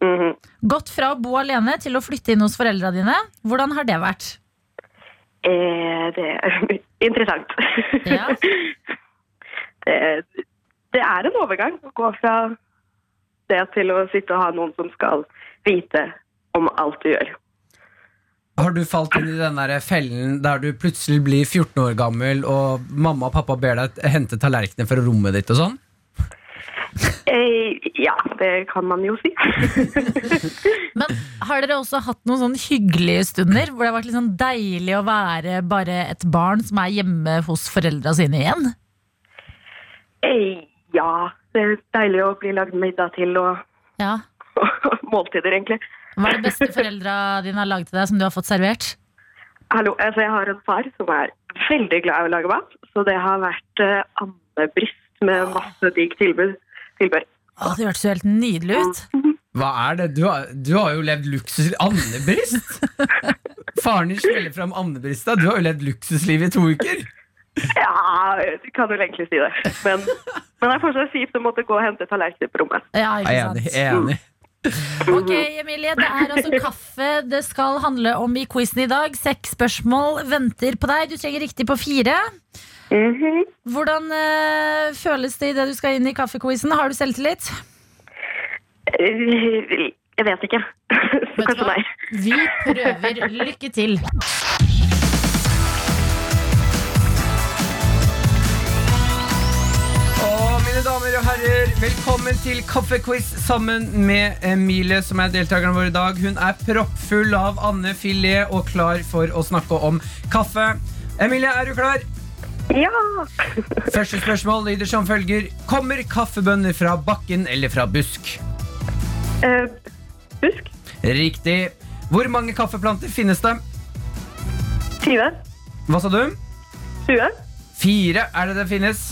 [SPEAKER 7] Mhm.
[SPEAKER 3] Gått fra å bo alene til å flytte inn hos foreldra dine. Hvordan har det vært?
[SPEAKER 7] Eh, det er interessant.
[SPEAKER 3] Ja.
[SPEAKER 7] det, det er en overgang å gå fra det til å sitte og ha noen som skal vite om alt du gjør.
[SPEAKER 4] Har du falt inn i den der fellen der du plutselig blir 14 år gammel, og mamma og pappa ber deg hente tallerkener fra rommet ditt og sånn?
[SPEAKER 7] Eh, ja, det kan man jo si.
[SPEAKER 3] Men har dere også hatt noen sånn hyggelige stunder hvor det har vært litt sånn deilig å være bare et barn som er hjemme hos foreldra sine igjen?
[SPEAKER 7] eh, ja, det er deilig å bli lagd middag til og
[SPEAKER 3] Ja.
[SPEAKER 7] måltider, egentlig.
[SPEAKER 3] Hva er det beste foreldra dine har laget til deg som du har fått servert?
[SPEAKER 7] Hallo, altså jeg har en far som er veldig glad i å lage mat, så det har vært eh, ammebryst med masse digg tilbud. tilbud.
[SPEAKER 3] Å, det hørtes jo helt nydelig ut.
[SPEAKER 4] Hva er det? Du har, du har jo levd luksus Andebryst! Faren din smeller fram andebrysta. Du har jo levd luksusliv i to uker.
[SPEAKER 7] Ja, du kan vel egentlig si det. Men, men det er fortsatt kjipt å måtte gå og hente tallerkener på rommet.
[SPEAKER 3] Ja, ikke sant?
[SPEAKER 4] Enig. enig
[SPEAKER 3] Ok, Emilie, det er altså kaffe det skal handle om i quizen i dag. Seks spørsmål venter på deg. Du trenger riktig på fire.
[SPEAKER 7] Mhm.
[SPEAKER 3] Hvordan eh, føles det idet du skal inn i kaffequizen? Har du selvtillit?
[SPEAKER 7] Eh, Jeg vet ikke. Så
[SPEAKER 3] Vet du
[SPEAKER 7] kanskje
[SPEAKER 3] hva?
[SPEAKER 7] nei.
[SPEAKER 3] Vi prøver. Lykke til.
[SPEAKER 4] Og mine damer og herrer, velkommen til Kaffequiz sammen med Emilie, som er deltakeren vår i dag. Hun er proppfull av andefilet og klar for å snakke om kaffe. Emilie, er du klar?
[SPEAKER 7] Ja!
[SPEAKER 4] Første spørsmål lyder som følger Kommer kaffebønner fra bakken eller fra busk?
[SPEAKER 7] Eh, Husk,
[SPEAKER 4] Riktig. Hvor mange kaffeplanter finnes det?
[SPEAKER 7] 20,
[SPEAKER 4] Hva sa du?
[SPEAKER 7] 20.
[SPEAKER 4] Fire er det det finnes.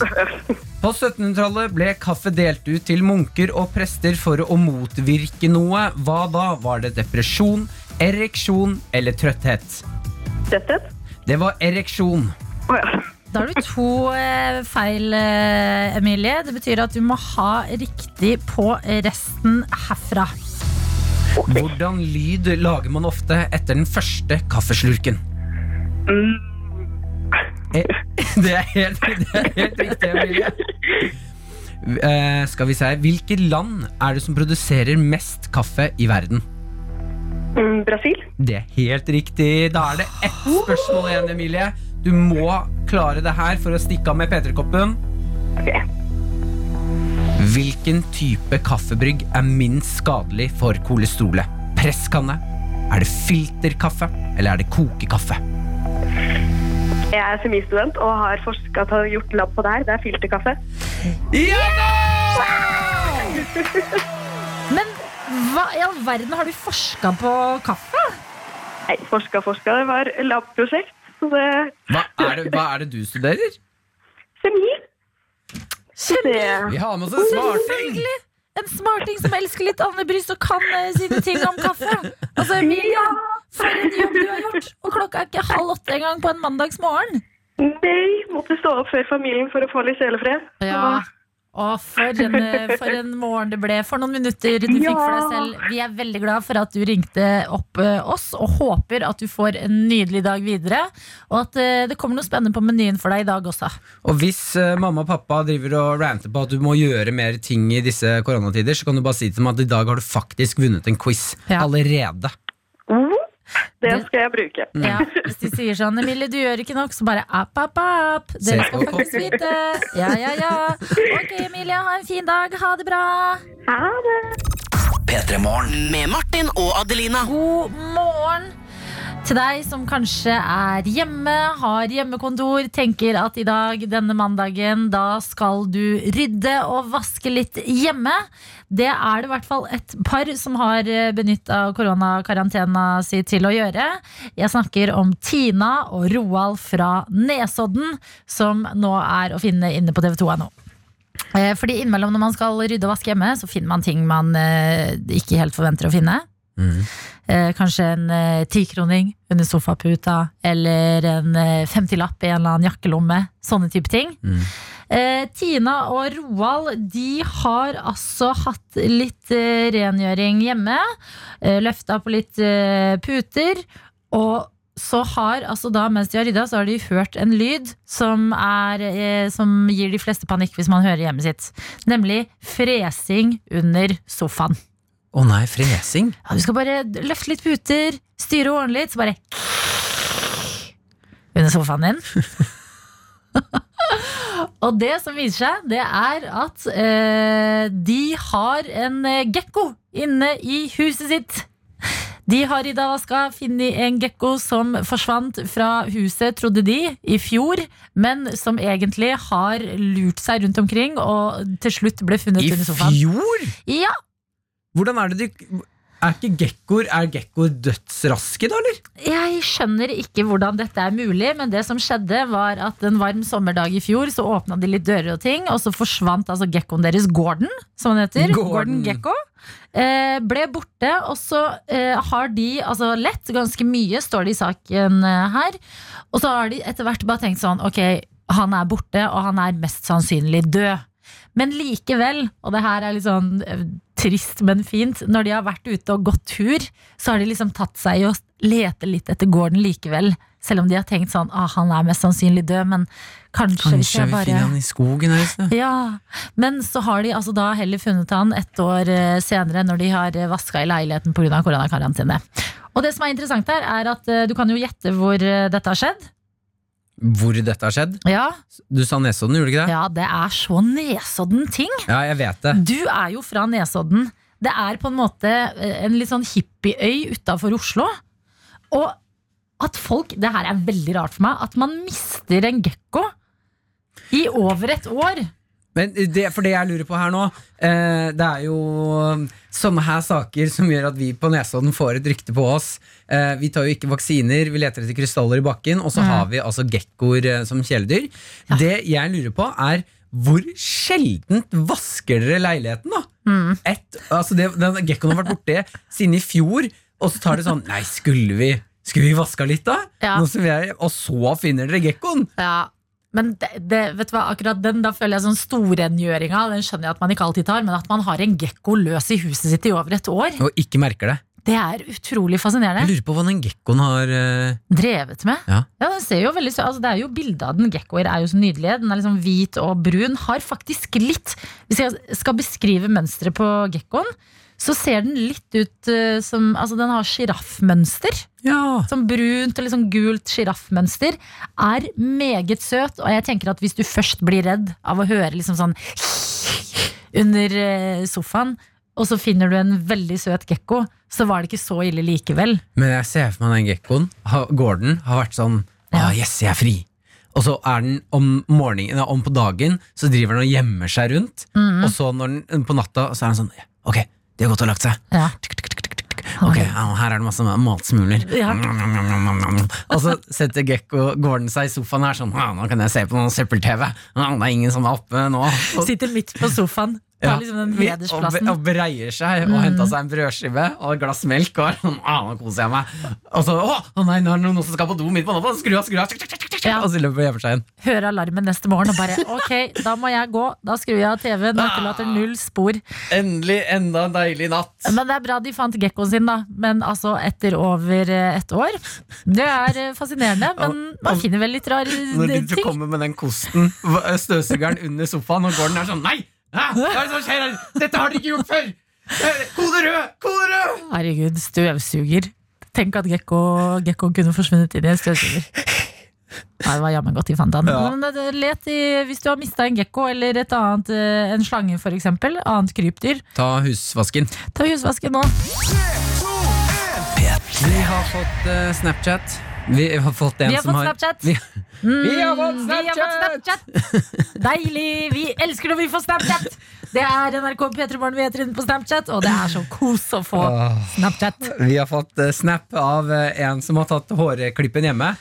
[SPEAKER 4] På 1700-tallet ble kaffe delt ut til munker og prester for å motvirke noe. Hva da? Var det depresjon, ereksjon eller trøtthet?
[SPEAKER 7] Retthet.
[SPEAKER 4] Det var ereksjon.
[SPEAKER 7] Å ja.
[SPEAKER 3] Da har du to eh, feil, eh, Emilie. Det betyr at du må ha riktig på resten herfra.
[SPEAKER 4] Hvordan lyd lager man ofte etter den første kaffeslurken? Eh, Det er helt, det er helt riktig, Emilie. Eh, skal vi se her. Hvilket land er det som produserer mest kaffe i verden?
[SPEAKER 7] Mm, Brasil.
[SPEAKER 4] Det er helt riktig. Da er det ett spørsmål igjen, Emilie. Du må klare det her for å stikke av med P3-koppen.
[SPEAKER 7] Ok.
[SPEAKER 4] Hvilken type kaffebrygg er minst skadelig for kolesterolet? Presskanne? Er det filterkaffe? Eller er det kokekaffe?
[SPEAKER 7] Jeg er semistudent og har forska og gjort lab på det her. Det er filterkaffe.
[SPEAKER 5] Ja da!
[SPEAKER 3] Men hva i all verden har du forska på kaffe?
[SPEAKER 7] Nei, forska, forska. Det var labprosjekt. Så det
[SPEAKER 4] Hva er, det, hva er det du studerer?
[SPEAKER 7] Kjemi. Så det
[SPEAKER 4] Vi har med oss en smarting!
[SPEAKER 3] Selvfølgelig! En smarting som elsker litt Anne Brys og kan eh, sine ting om kaffe. Altså, Emilie,
[SPEAKER 7] Ja.
[SPEAKER 3] for en jobb du har gjort! Og klokka er ikke halv åtte engang på en mandagsmorgen.
[SPEAKER 7] Nei, måtte stå opp før familien for å få litt sjelefred.
[SPEAKER 3] Ja. Å, for en, eh, for en morgen det ble. For noen minutter du fikk for deg
[SPEAKER 7] Ja.
[SPEAKER 3] selv. Vi er veldig glad for at du ringte opp eh, oss, og håper at du får en nydelig dag videre. Og at eh, det kommer noe spennende på menyen for deg i dag også.
[SPEAKER 4] Og hvis eh, mamma og pappa driver og ranter på at du må gjøre mer ting i disse koronatider, så kan du bare si til dem at i dag har du faktisk vunnet en quiz
[SPEAKER 3] Ja.
[SPEAKER 4] allerede.
[SPEAKER 8] Mm.
[SPEAKER 7] Mhm. Det skal jeg bruke.
[SPEAKER 4] Mm.
[SPEAKER 3] Ja, hvis de sier sånn Emilie, du gjør ikke nok, så bare app, app, app.
[SPEAKER 4] Se
[SPEAKER 3] Dere
[SPEAKER 4] på-
[SPEAKER 3] skal faktisk vite. Ja, ja, ja. Ok, Emilie, ha en fin dag. Ha det bra.
[SPEAKER 7] Ha det!
[SPEAKER 2] Med Martin og Adelina.
[SPEAKER 3] God morgen. Til deg som kanskje er hjemme, har hjemmekontor, tenker at i dag, denne mandagen, da skal du rydde og vaske litt hjemme. Det er det i hvert fall et par som har benytta koronakarantena si til å gjøre. Jeg snakker om Tina og Roald fra Nesodden, som nå er å finne inne på TV2.no. Eh, Fordi innimellom når man skal rydde og vaske hjemme, så finner man ting man eh, ikke helt forventer å finne.
[SPEAKER 4] Mm.
[SPEAKER 3] Eh, kanskje en eh, tikroning under sofaputa, eller en eh, femtilapp i en eller annen jakkelomme. Sånne type ting.
[SPEAKER 4] Mm.
[SPEAKER 3] Eh, Tina og Roald de har altså hatt litt eh, rengjøring hjemme. Eh, Løfta på litt eh, puter. Og så har altså da, mens de har rydda, så har de hørt en lyd som, er, eh, som gir de fleste panikk hvis man hører hjemmet sitt. Nemlig fresing under sofaen.
[SPEAKER 4] Å nei, fresing?
[SPEAKER 3] Ja, du skal bare løfte litt puter, styre og ordne litt, så bare Under sofaen din. og det som viser seg, det er at eh, de har en eh, gekko inne i huset sitt. De har i dag vaska funnet en gekko som forsvant fra huset, trodde de, i fjor, men som egentlig har lurt seg rundt omkring og til slutt ble funnet
[SPEAKER 4] I
[SPEAKER 3] under sofaen.
[SPEAKER 4] fjor?
[SPEAKER 3] Ja,
[SPEAKER 4] Hvordan er det du Er ikke gekkoer Er gekkoer dødsraske, da, eller?
[SPEAKER 3] Jeg skjønner ikke hvordan dette er mulig, men det som skjedde var at en varm sommerdag i fjor så åpna de litt dører og ting, og så forsvant altså gekkoen deres, Gordon, som han heter.
[SPEAKER 4] Gordon.
[SPEAKER 3] Gordon Gekko. Eh, ble borte, og så eh, har de altså lett ganske mye, står det i saken eh, her. Og så har de etter hvert bare tenkt sånn, ok, han er borte, og han er mest sannsynlig død. Men likevel, og det her er litt sånn eh, trist, men fint, når de har vært ute og gått tur, så har de liksom tatt seg i å lete litt etter gården likevel. Selv om de har tenkt sånn, ah, han er mest sannsynlig død, men kanskje, hvis jeg bare...
[SPEAKER 4] i skogen her et sted.
[SPEAKER 3] Ja, Men så har de altså da heller funnet han ett år eh, senere, når de har vaska i leiligheten pga. koronakarantene. Og det som er interessant her, er at eh, du kan jo gjette hvor eh, dette har skjedd.
[SPEAKER 4] Hvor dette har skjedd?
[SPEAKER 3] Ja,
[SPEAKER 4] Du sa Nesodden, gjorde du ikke det?
[SPEAKER 3] ja det er så Nesodden-ting!
[SPEAKER 4] Ja, jeg vet det.
[SPEAKER 3] Du er jo fra Nesodden. Det er på en måte eh, en litt sånn hippieøy utafor Oslo. Og at folk Det her er veldig rart for meg. At man mister en gekko i over et år.
[SPEAKER 4] Men det, for det jeg lurer på her nå, eh, det er jo um, sånne her saker som gjør at vi på Nesodden får et rykte på oss. Eh, vi tar jo ikke vaksiner, vi leter etter krystaller i bakken, og så
[SPEAKER 3] Mm.
[SPEAKER 4] har vi altså gekkoer eh, som kjæledyr. Det jeg lurer på, er hvor sjeldent vasker dere leiligheten, da?
[SPEAKER 3] Mm.
[SPEAKER 4] Et, altså det, den Gekkoen har vært borte siden i fjor, og så tar det sånn Nei, skulle vi Skulle vi vaska litt, da?
[SPEAKER 3] Ja.
[SPEAKER 4] Nå som vi er, og så finner dere gekkoen!
[SPEAKER 3] Ja, men det, det, vet du hva, akkurat den da føler jeg sånn storrengjøringa, den skjønner jeg at man ikke alltid tar, men at man har en gekko løs i huset sitt i over et år,
[SPEAKER 4] Og ikke merker det.
[SPEAKER 3] det er utrolig
[SPEAKER 4] Jeg
[SPEAKER 3] fascinerende.
[SPEAKER 4] lurer på hva den gekkoen har eh,
[SPEAKER 3] Drevet med.
[SPEAKER 4] Ja.
[SPEAKER 3] den ser jo veldig sø- altså Det er jo bildet av den. Gekkoer er jo så nydelige. Den er liksom hvit og brun. Har faktisk litt Hvis jeg skal beskrive mønsteret på gekkoen, så ser den litt ut eh, som Altså, den har sjiraffmønster.
[SPEAKER 4] Ja.
[SPEAKER 3] sånn brunt og litt sånn gult sjiraffmønster, er meget søt. Og jeg tenker at hvis du først blir redd av å høre liksom sånn under eh, sofaen, og så finner du en veldig søt gekko, så var det ikke så ille likevel.
[SPEAKER 4] Men jeg ser for meg den gekkoen. ha- Gordon har vært sånn ah,
[SPEAKER 3] Ja.
[SPEAKER 4] Yes, jeg er fri! Og så er den om morgenen nei, om på dagen, så driver den og gjemmer seg rundt. Og så når den, på natta så er den sånn Ok, de har gått og lagt seg.
[SPEAKER 3] Ja.
[SPEAKER 4] Tikk, tikk, tikk, tikk, tikk. Ok, au, her er det masse matsmuler.
[SPEAKER 3] Ja.
[SPEAKER 4] Nom, nom, nom, nom, nom, nom. Og så setter Gekko gården seg i sofaen her sånn «Ah, Nå kan jeg se på noen søppel-TV. Ah, Det er ingen som er oppe nå. Og,
[SPEAKER 3] Sitter midt på sofaen. Tar
[SPEAKER 4] Ja.
[SPEAKER 3] liksom den Mm.
[SPEAKER 4] Vi-
[SPEAKER 3] hedersplassen.
[SPEAKER 4] Og, be- og breier seg og henta seg en brødskive og et glass melk. Og er sånn, ah, nå koser jeg meg. Og så å, å nei, nå er det noen som skal på do midt på natta. Skru av, skru av. tsk, tsk, tsk, tsk, tsk,
[SPEAKER 3] Ja.
[SPEAKER 4] Og så løper og gjemmer seg igjen.
[SPEAKER 3] Hører alarmen neste morgen og bare ok, da må jeg gå. Da skrur jeg av TV-en og
[SPEAKER 4] Ah.
[SPEAKER 3] etterlater null spor.
[SPEAKER 4] Endelig enda en deilig natt.
[SPEAKER 3] Men det er bra de fant gekkoen sin, da. Men altså, etter over eh, ett år. Det er eh, fascinerende, men man finner vel litt rare eh,
[SPEAKER 4] Når du
[SPEAKER 3] ting.
[SPEAKER 4] kommer med den kosten, hva- eh, støvsugeren under sofaen, og gården er sånn Nei! Hæ? Hva er det som skjer her? Dette har dere ikke gjort før! Eh, Kode rød! Kode rød!
[SPEAKER 3] Herregud, støvsuger. Tenk at gekko- gekkoen kunne forsvunnet inn i en støvsuger. Nei, det var jammen godt de fant han.
[SPEAKER 4] Ja.
[SPEAKER 3] Men det- let i, hvis du har mista en gekko eller et annet, eh, en slange f.eks., annet krypdyr,
[SPEAKER 4] Ta husvasken.
[SPEAKER 3] ta husvasken nå.
[SPEAKER 4] Vi har fått eh, Snapchat. Vi har fått en
[SPEAKER 3] Vi har
[SPEAKER 4] som
[SPEAKER 3] fått
[SPEAKER 4] har
[SPEAKER 3] Snapchat.
[SPEAKER 4] Vi,
[SPEAKER 3] Mm, Vi har fått Snapchat! Deilig! Vi elsker når vi får Snapchat! Det er NRK P3 Morgen vi heter inne på Snapchat, og det er så kos å få Snapchat.
[SPEAKER 4] Vi har fått eh, snap av eh, en som har tatt hårklippen hjemme,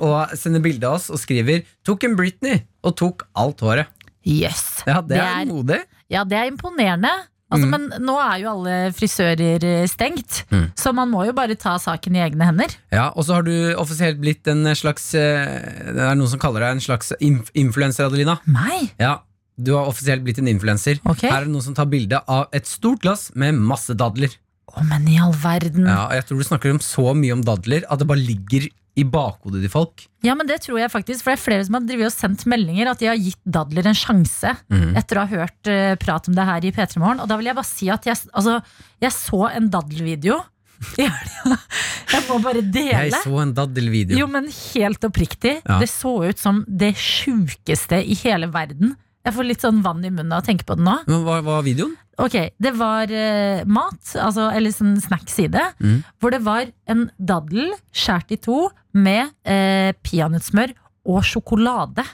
[SPEAKER 4] og sender bilde av oss og skriver 'tok en Britney' og tok alt håret.
[SPEAKER 3] Yes.
[SPEAKER 4] Ja, Det, er, modig.
[SPEAKER 3] Ja, det er imponerende. Altså,
[SPEAKER 4] Mm.
[SPEAKER 3] Men nå er jo alle frisører eh, stengt,
[SPEAKER 4] Mm.
[SPEAKER 3] så man må jo bare ta saken i egne hender.
[SPEAKER 4] Ja, Og så har du offisielt blitt en slags eh, Det er noen som kaller deg en slags inf influenser, Adelina.
[SPEAKER 3] Nei!
[SPEAKER 4] Ja, Du har offisielt blitt en influenser.
[SPEAKER 3] Ok.
[SPEAKER 4] Her er det noen som tar bilde av et stort glass med masse dadler.
[SPEAKER 3] Å, men i all verden. Ja.
[SPEAKER 4] Ja, og Jeg tror du snakker om så mye om dadler at det bare ligger i bakhodet til folk.
[SPEAKER 3] men det tror jeg faktisk, for det er flere som har drevet og sendt meldinger at de har gitt dadler en sjanse
[SPEAKER 4] Mhm.
[SPEAKER 3] etter å ha hørt eh, prat om det her i P3 Morgen. Og da vil jeg bare si at jeg, s- altså, jeg så en daddelvideo. Jeg må bare
[SPEAKER 4] Jeg
[SPEAKER 3] dele.
[SPEAKER 4] så en daddelvideo.
[SPEAKER 3] Jo, men helt oppriktig.
[SPEAKER 4] Ja.
[SPEAKER 3] Det så ut som det sjukeste i hele verden. Jeg får litt sånn vann i munnen av å tenke på det nå.
[SPEAKER 4] Men hva hva var videoen?
[SPEAKER 3] Ok, det var eh, mat, altså, eller sånn snacks i det,
[SPEAKER 4] Mm.
[SPEAKER 3] hvor det var en daddel skjært i to med eh, peanøttsmør og sjokolade.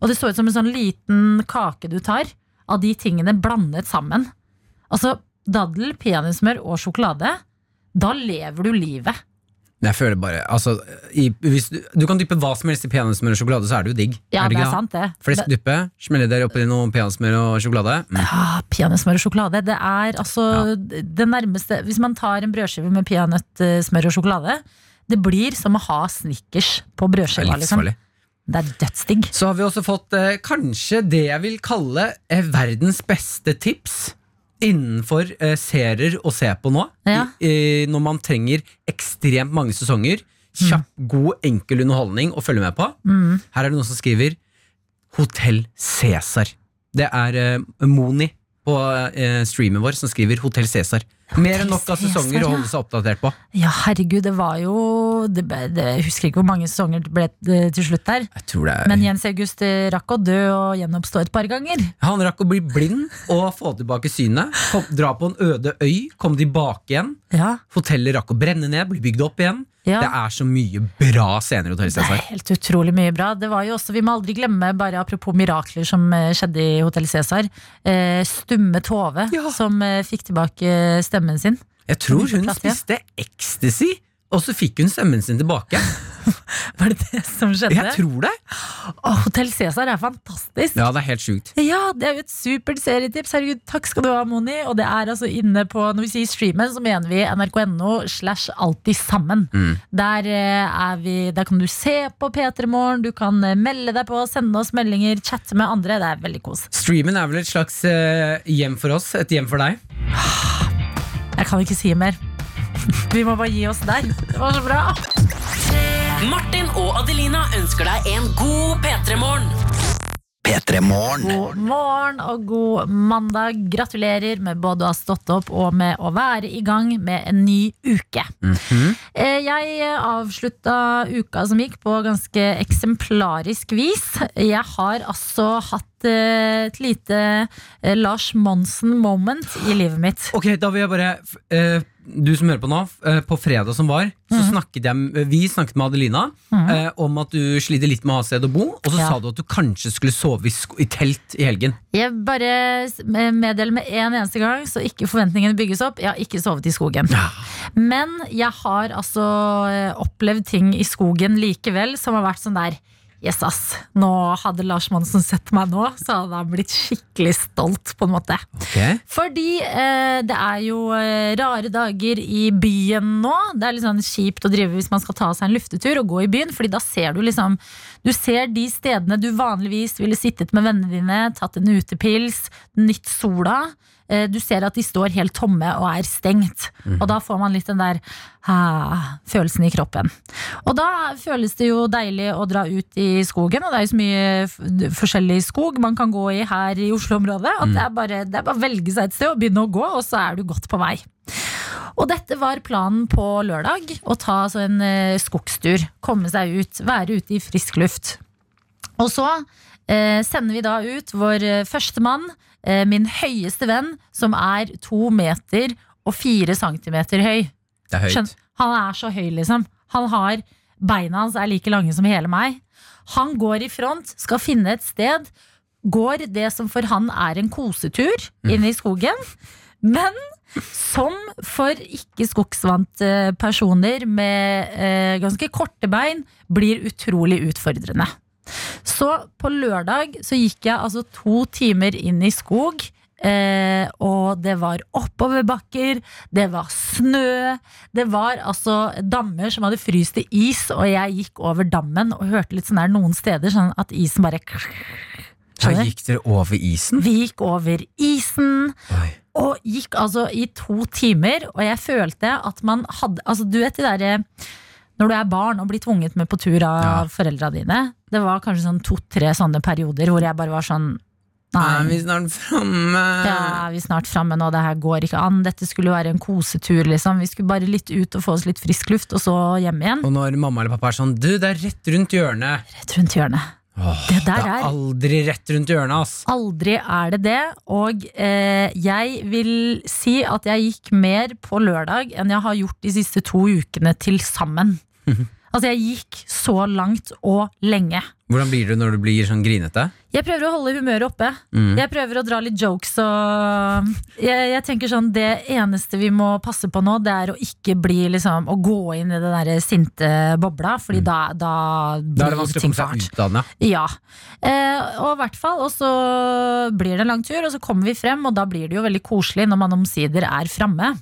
[SPEAKER 3] Og det så ut som en sånn liten kake du tar av de tingene blandet sammen. Altså daddel, peanøttsmør og sjokolade. Da lever du livet.
[SPEAKER 4] Men Jeg føler bare altså, i, hvis du, du kan dyppe hva som helst i peanøttsmør og sjokolade, så er det jo digg.
[SPEAKER 3] Ja, det
[SPEAKER 4] ikke
[SPEAKER 3] er sant, det.
[SPEAKER 4] Flesk
[SPEAKER 3] Men-
[SPEAKER 4] dyppe, smelle der oppi noe peanøttsmør og sjokolade. Mm.
[SPEAKER 3] Ah, Peanøttsmør og sjokolade. Det er altså det nærmeste Hvis man tar en brødskive med peanøttsmør og sjokolade, det blir som å ha Snickers på
[SPEAKER 4] Det er
[SPEAKER 3] brødskiva. Liksom.
[SPEAKER 4] livsfarlig.
[SPEAKER 3] Det er dødsdigg.
[SPEAKER 4] Så har vi også fått eh, kanskje det jeg vil kalle eh, verdens beste tips innenfor eh, serier å se på nå.
[SPEAKER 3] Ja.
[SPEAKER 4] I, eh, når man trenger ekstremt mange sesonger. Kjapp,
[SPEAKER 3] Mm.
[SPEAKER 4] god, enkel underholdning å følge med på. Her er det noen som skriver Hotell Cæsar. Det er eh, Moni på eh, streamen vår som skriver Hotell Cæsar. Mer enn nok av
[SPEAKER 3] Cæsar,
[SPEAKER 4] sesonger å
[SPEAKER 3] ja.
[SPEAKER 4] holde seg oppdatert på.
[SPEAKER 3] Ja, herregud, det var jo det, ble- det, Jeg husker ikke hvor mange sesonger det ble eh, til slutt der.
[SPEAKER 4] Jeg tror det er
[SPEAKER 3] Men Jens August eh, rakk å dø og gjenoppstå et par ganger.
[SPEAKER 4] Han rakk å bli blind og få tilbake synet. Kom, dra på en øde øy, kom tilbake igjen.
[SPEAKER 3] Ja,
[SPEAKER 4] Hotellet rakk å brenne ned, bli bygd opp igjen.
[SPEAKER 3] ja.
[SPEAKER 4] Det er så mye bra scener i Hotell
[SPEAKER 3] Det er
[SPEAKER 4] Cæsar.
[SPEAKER 3] helt utrolig mye bra. Det var jo også, Vi må aldri glemme, bare apropos mirakler som eh, skjedde i Hotell Cæsar, eh, Stumme Tove
[SPEAKER 4] Ja.
[SPEAKER 3] som eh, fikk tilbake stemmen sin.
[SPEAKER 4] Jeg tror hun
[SPEAKER 3] Plass igjen.
[SPEAKER 4] spiste ecstasy, og så fikk hun stemmen sin tilbake.
[SPEAKER 3] Var det det som skjedde?
[SPEAKER 4] Jeg tror det.
[SPEAKER 3] Å, Hotell Cæsar er fantastisk! Ja.
[SPEAKER 4] Ja, det er helt sjukt.
[SPEAKER 3] det er jo et supert serietips. Herregud, takk skal du ha, Moni. Og det er altså inne på Når vi sier streamen, så mener vi nrk.no slash alltid sammen.
[SPEAKER 4] Mm.
[SPEAKER 3] Der, eh, er vi, der kan du se på P3 Morgen, du kan eh, melde deg på, sende oss meldinger, chatte med andre. Det er veldig kos.
[SPEAKER 4] Streamen er vel et slags eh, hjem for oss, et hjem for deg.
[SPEAKER 3] Jeg kan ikke si mer. Vi må bare gi oss der. Det var så bra.
[SPEAKER 2] Martin og Adelina ønsker deg en god P3-morgen.
[SPEAKER 3] God morgen og god mandag. Gratulerer med både å ha stått opp og med å være i gang med en ny uke. Eh, Jeg avslutta uka som gikk på ganske eksemplarisk vis. Jeg har altså hatt et, eh, et lite eh, Lars Monsen-moment i livet mitt.
[SPEAKER 4] Ok, da vil jeg bare f- eh, Du som hører på nå, f- eh, på fredag som var, så
[SPEAKER 3] Mm.
[SPEAKER 4] snakket jeg, vi snakket med Adelina eh, om at du sliter litt med å ha et sted å bo, og så
[SPEAKER 3] Ja.
[SPEAKER 4] sa du at du kanskje skulle sove i, sko i telt i helgen.
[SPEAKER 3] Jeg bare s- meddeler med en eneste gang, så ikke forventningene bygges opp. Jeg har ikke sovet i skogen. Men jeg har altså eh, opplevd ting i skogen likevel som har vært sånn der Yes, ass. Nå hadde Lars Monsen sett meg nå, så hadde han blitt skikkelig stolt, på en måte.
[SPEAKER 4] Ok.
[SPEAKER 3] Fordi eh, det er jo eh, rare dager i byen nå. Det er litt sånn kjipt å drive hvis man skal ta seg en luftetur og gå i byen. Fordi da ser du liksom Du ser de stedene du vanligvis ville sittet med vennene dine, tatt en utepils, nytt sola. Eh, Du ser at de står helt tomme og er stengt. Og da får man litt den der ah, følelsen i kroppen. Og da føles det jo deilig å dra ut i skogen, og det er jo så mye f- forskjellig skog man kan gå i her i Oslo-området. At det, er bare, det er bare å velge seg et sted og begynne å gå, og så er du godt på vei. Og dette var planen på lørdag, å ta så en eh, skogstur. Komme seg ut, være ute i frisk luft. Og så eh, sender vi da ut vår eh, første mann, eh, min høyeste venn, som er to meter og fire centimeter høy.
[SPEAKER 4] Det er høyt.
[SPEAKER 3] Skjønn, han er så høy, liksom. Han har, beina hans er like lange som hele meg. Han går i front, skal finne et sted. Går det som for han er en kosetur inne i skogen. Men som for ikke-skogsvante personer med eh, ganske korte bein, blir utrolig utfordrende. Så på lørdag så gikk jeg altså to timer inn i skog. Eh, og det var oppoverbakker, det var snø, det var altså dammer som hadde fryst til is, og jeg gikk over dammen og hørte litt sånn der noen steder sånn at isen bare
[SPEAKER 4] Så
[SPEAKER 3] Skjønner?
[SPEAKER 4] gikk dere over isen?
[SPEAKER 3] Vi gikk over isen,
[SPEAKER 4] Oi.
[SPEAKER 3] og gikk altså i to timer, og jeg følte at man hadde Altså, du vet de derre når du er barn og blir tvunget med på tur av
[SPEAKER 4] Ja.
[SPEAKER 3] foreldra dine. Det var kanskje sånn to-tre sånne perioder hvor jeg bare var sånn
[SPEAKER 4] Er
[SPEAKER 3] Nei,
[SPEAKER 4] vi snart framme?
[SPEAKER 3] ja, er vi snart framme nå? Det her går ikke an. Dette skulle jo være en kosetur, liksom. Vi skulle bare litt ut og få oss litt frisk luft, og så hjem igjen.
[SPEAKER 4] Og når mamma eller pappa er sånn Du, det er rett rundt hjørnet.
[SPEAKER 3] Rett rundt hjørnet.
[SPEAKER 4] Åh,
[SPEAKER 3] Det der
[SPEAKER 4] det
[SPEAKER 3] er-
[SPEAKER 4] er aldri rett rundt hjørnet, ass.
[SPEAKER 3] Aldri er det det, og eh, jeg vil si at jeg gikk mer på lørdag enn jeg har gjort de siste to ukene til sammen. Altså, jeg gikk så langt og lenge.
[SPEAKER 4] Hvordan blir du når du blir sånn grinete?
[SPEAKER 3] Jeg prøver å holde humøret oppe.
[SPEAKER 4] Mm.
[SPEAKER 3] Jeg prøver å dra litt jokes og jeg, jeg tenker sånn, det eneste vi må passe på nå, det er å ikke bli liksom Å gå inn i den der sinte bobla, fordi da, da blir
[SPEAKER 4] Mm. Da er det vanskelig å
[SPEAKER 3] ting
[SPEAKER 4] komme seg
[SPEAKER 3] fælt.
[SPEAKER 4] ut av den. ja.
[SPEAKER 3] Ja. Eh, og i hvert fall, og så blir det en lang tur, og så kommer vi frem, og da blir det jo veldig koselig når man omsider er framme.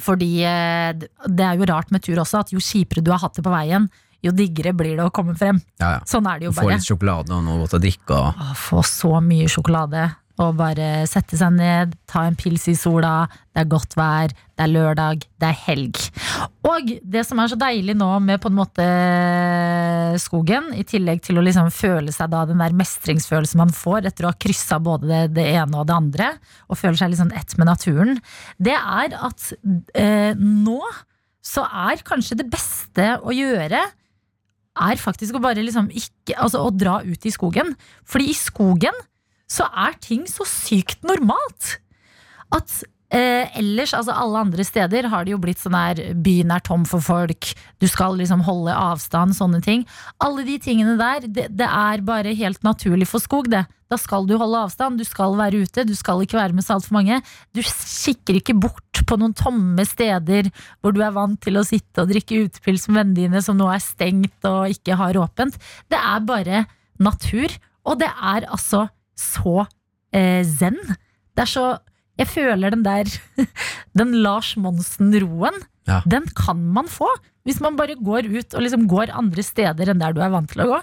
[SPEAKER 3] Fordi eh, det er jo rart med tur også, at jo kjipere du har hatt det på veien, jo diggere blir det å komme frem.
[SPEAKER 4] Ja, ja.
[SPEAKER 3] Sånn er det jo
[SPEAKER 4] Få
[SPEAKER 3] bare.
[SPEAKER 4] litt sjokolade og noe godt å drikke. Og...
[SPEAKER 3] Å, få så mye sjokolade og bare sette seg ned, ta en pils i sola. Det er godt vær, det er lørdag, det er helg. Og det som er så deilig nå med på en måte skogen, i tillegg til å liksom føle seg da den der mestringsfølelsen man får etter å ha kryssa både det, det ene og det andre, og føler seg litt sånn ett med naturen, det er at eh, nå så er kanskje det beste å gjøre er faktisk å bare liksom ikke Altså å dra ut i skogen. Fordi i skogen så er ting så sykt normalt at eh, ellers, altså alle andre steder, har det jo blitt sånn her byen er tom for folk, du skal liksom holde avstand, sånne ting. Alle de tingene der, det, det er bare helt naturlig for skog, det. Da skal du holde avstand, du skal være ute, du skal ikke være med så altfor mange. Du kikker ikke bort på noen tomme steder hvor du er vant til å sitte og drikke utepils med vennene dine, som nå er stengt og ikke har åpent. Det er bare natur, og det er altså så eh, zen. Det er så Jeg føler den der Den Lars Monsen-roen,
[SPEAKER 4] Ja.
[SPEAKER 3] den kan man få hvis man bare går ut og liksom går andre steder enn der du er vant til å gå.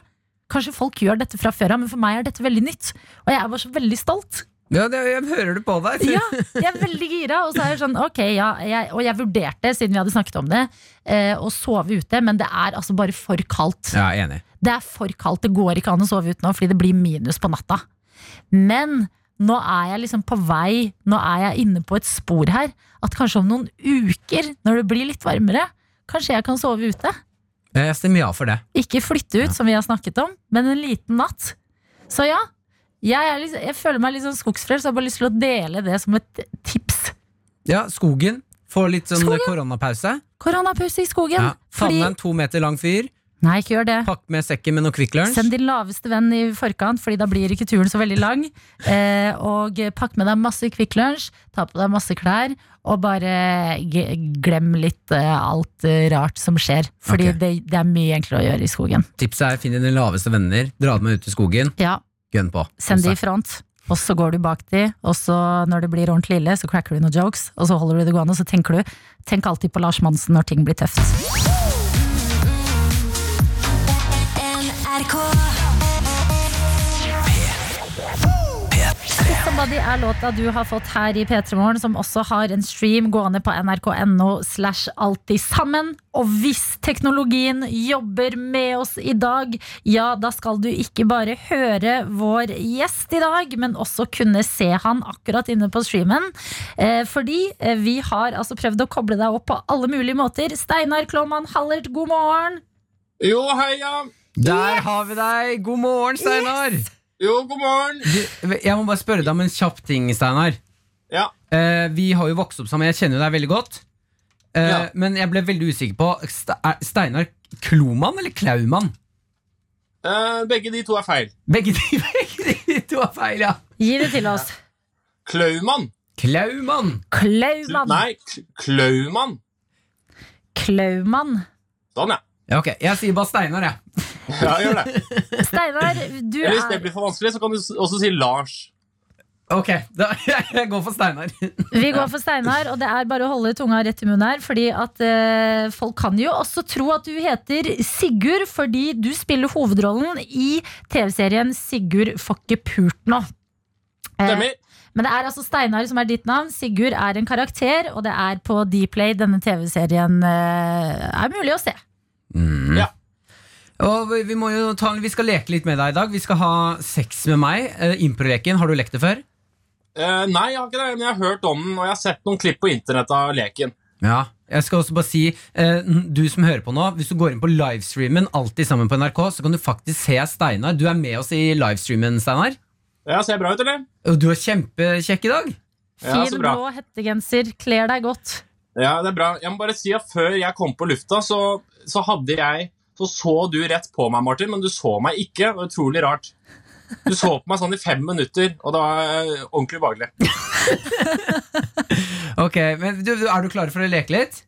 [SPEAKER 3] Kanskje folk gjør dette fra før av, men for meg er dette veldig nytt. Og jeg er bare så veldig stolt.
[SPEAKER 4] Ja, det, jeg hører det på deg.
[SPEAKER 3] Ja, jeg er veldig gira. Og så er jeg sånn, ok, ja, jeg, og jeg vurderte, siden vi hadde snakket om det, eh, å sove ute, men det er altså bare for kaldt.
[SPEAKER 4] Ja, enig.
[SPEAKER 3] Det er for kaldt, det går ikke an å sove ute nå fordi det blir minus på natta. Men nå er jeg liksom på vei, nå er jeg inne på et spor her, at kanskje om noen uker, når det blir litt varmere, kanskje jeg kan sove ute.
[SPEAKER 4] Eh, Jeg stemmer ja for det.
[SPEAKER 3] Ikke flytte ut, som vi har snakket om, men en liten natt. Så ja, Jeg, er liksom, jeg føler meg litt sånn skogsfrelst, så jeg har bare lyst til å dele det som et tips.
[SPEAKER 4] Ja, skogen. Få litt sånn
[SPEAKER 3] Skogen.
[SPEAKER 4] koronapause.
[SPEAKER 3] Koronapause i skogen.
[SPEAKER 4] Ja. Ta
[SPEAKER 3] Fordi-
[SPEAKER 4] med en to meter lang fyr.
[SPEAKER 3] Nei, ikke gjør det.
[SPEAKER 4] Pakk med sekken med noe Kvikk Lunsj.
[SPEAKER 3] Send din laveste venn i forkant, Fordi da blir ikke turen så veldig lang. Eh, og pakk med deg masse Kvikk Lunsj, ta på deg masse klær, og bare g glem litt eh, alt eh, rart som skjer. Fordi
[SPEAKER 4] Ok.
[SPEAKER 3] det, det er mye enklere å gjøre i skogen.
[SPEAKER 4] Tipset er finn dine laveste venner, dra dem med ut i skogen,
[SPEAKER 3] Ja,
[SPEAKER 4] gønn på.
[SPEAKER 3] Send de i
[SPEAKER 4] Altså,
[SPEAKER 3] front, og så går du bak de, og så når det blir ordentlig ille, så cracker du noen jokes, og så holder du det gående, og så tenker du Tenk alltid på Lars Monsen når ting blir tøft. Somebody er låta du har fått her i P3 Morgen, som også har en stream gående på nrk.no slash alltid sammen. Og hvis teknologien jobber med oss i dag, ja, da skal du ikke bare høre vår gjest i dag, men også kunne se han akkurat inne på streamen. Eh, fordi eh, vi har altså prøvd å koble deg opp på alle mulige måter. Steinar Klåman Hallert, god morgen!
[SPEAKER 9] Jo, hei, ja.
[SPEAKER 4] Der har vi deg! God morgen, Steinar!
[SPEAKER 9] Jo, god morgen.
[SPEAKER 4] Du, Jeg må bare spørre deg om en kjapp ting, Steinar.
[SPEAKER 9] Ja.
[SPEAKER 4] Eh, vi har jo vokst opp sammen. Jeg kjenner jo deg veldig godt. Eh,
[SPEAKER 9] Ja.
[SPEAKER 4] Men jeg ble veldig usikker på Ste- er Steinar Kloman eller Klaumann?
[SPEAKER 9] Eh, begge de to er feil.
[SPEAKER 4] Begge de, begge de to er feil, ja.
[SPEAKER 3] Gi det til oss.
[SPEAKER 9] Klaumann.
[SPEAKER 4] Klaumann!
[SPEAKER 3] Klaumann!
[SPEAKER 9] Nei, K- Klaumann.
[SPEAKER 3] Klaumann.
[SPEAKER 9] Sånn, ja.
[SPEAKER 4] Ja, ok, Jeg sier bare Steinar, jeg.
[SPEAKER 9] Ja, gjør det.
[SPEAKER 3] Steinar, du
[SPEAKER 9] Eller hvis
[SPEAKER 3] er
[SPEAKER 9] det blir for vanskelig, så kan du s- også si Lars.
[SPEAKER 4] Ok, da, jeg går for Steinar.
[SPEAKER 3] Vi går for Steinar, og det er bare å holde tunga rett i munnen her. Fordi at eh, folk kan jo også tro at du heter Sigurd, fordi du spiller hovedrollen i TV-serien Sigurd får ikke pult nå. Eh,
[SPEAKER 9] Stemmer.
[SPEAKER 3] men det er altså Steinar som er ditt navn. Sigurd er en karakter, og det er på Dplay denne TV-serien eh, er mulig å se.
[SPEAKER 4] Og vi, vi, må jo ta, vi skal leke litt med deg i dag. Vi skal ha sex med meg. Eh, Improleken. Har du lekt det før?
[SPEAKER 9] Eh, nei, jeg har ikke det, men jeg har hørt om den, og jeg har sett noen klipp på internett av leken.
[SPEAKER 4] Ja. Jeg skal også bare si, eh, n- du som hører på nå, hvis du går inn på livestreamen Alltid sammen på NRK, så kan du faktisk se Steinar. Du er med oss i livestreamen, Steinar.
[SPEAKER 9] Ja, ser jeg bra ut, eller?
[SPEAKER 4] Og du er kjempekjekk i dag.
[SPEAKER 9] Ja,
[SPEAKER 3] Fin
[SPEAKER 9] så bra.
[SPEAKER 3] blå hettegenser, kler deg godt.
[SPEAKER 9] Ja, det er bra. Jeg må bare si at før jeg kom på lufta, så, så hadde jeg Så så du rett på meg, Martin, men du så meg ikke. Det var utrolig rart. Du så på meg sånn i fem minutter, og det var eh, ordentlig ubehagelig.
[SPEAKER 4] Ok, men du, du- Er du klar for å leke litt?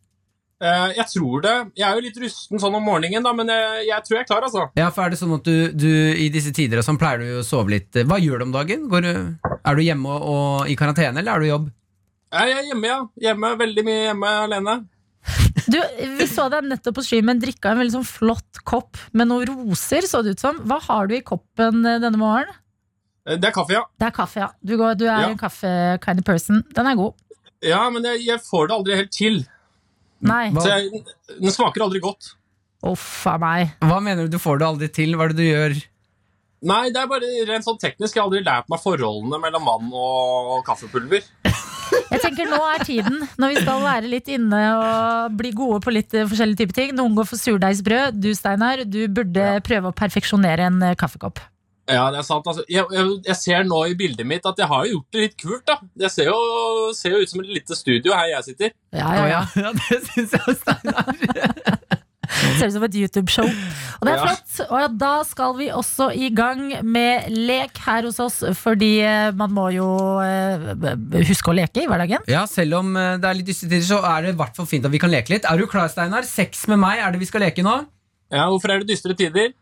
[SPEAKER 9] Eh, jeg tror det. Jeg er jo litt rusten sånn om morgenen, da, men jeg, jeg tror jeg er klar, altså.
[SPEAKER 4] Ja, for er det sånn at du, du i disse tider og sånn pleier du jo å sove litt Hva gjør du om dagen? Går du, er du hjemme og, og i karantene, eller er du i jobb?
[SPEAKER 9] Jeg er hjemme, ja. Hjemme, Veldig mye hjemme alene.
[SPEAKER 3] Du, Vi så deg nettopp på streamen drikke av en veldig sånn flott kopp med noen roser. så det ut som. Hva har du i koppen eh, denne morgenen?
[SPEAKER 9] Eh, Det er kaffe, ja.
[SPEAKER 3] Det er kaffe, ja. Du, går, du er
[SPEAKER 9] Ja.
[SPEAKER 3] en kaffe kind of person. Den er god.
[SPEAKER 9] Ja, men jeg, jeg får det aldri helt til.
[SPEAKER 3] Nei,
[SPEAKER 4] Hva,
[SPEAKER 9] Så jeg, den smaker aldri godt.
[SPEAKER 3] uff a meg.
[SPEAKER 4] hva mener du, du får det aldri til? Hva er det du gjør?
[SPEAKER 9] Nei, det er bare rent sånn teknisk. Jeg har aldri lært meg forholdene mellom vann og og kaffepulver.
[SPEAKER 3] Jeg tenker Nå er tiden når vi skal være litt inne og bli gode på litt eh, forskjellige typer ting. Noen går for surdeigsbrød. Du, Steinar, du burde prøve å perfeksjonere en eh, kaffekopp.
[SPEAKER 9] Ja, det er sant. Altså, jeg, jeg, jeg ser nå i bildet mitt at jeg har jo gjort det litt kult, da. Jeg ser jo, ser jo ut som et lite studio her jeg sitter.
[SPEAKER 3] Ja,
[SPEAKER 4] Å
[SPEAKER 3] ja, ja.
[SPEAKER 4] ja. ja, det syns jeg, Steinar.
[SPEAKER 3] Ser ut som et YouTube-show. Og det er
[SPEAKER 9] Ja.
[SPEAKER 3] flott. Og ja, da skal vi også i gang med lek her hos oss, fordi eh, man må jo eh, b- b- huske å leke i hverdagen.
[SPEAKER 4] Ja, selv om eh, det er litt dystre tider, så er det i hvert fall fint at vi kan leke litt. Er du klar, Steinar? Sex med meg er det vi skal leke nå?
[SPEAKER 9] Ja, hvorfor er det dystre tider?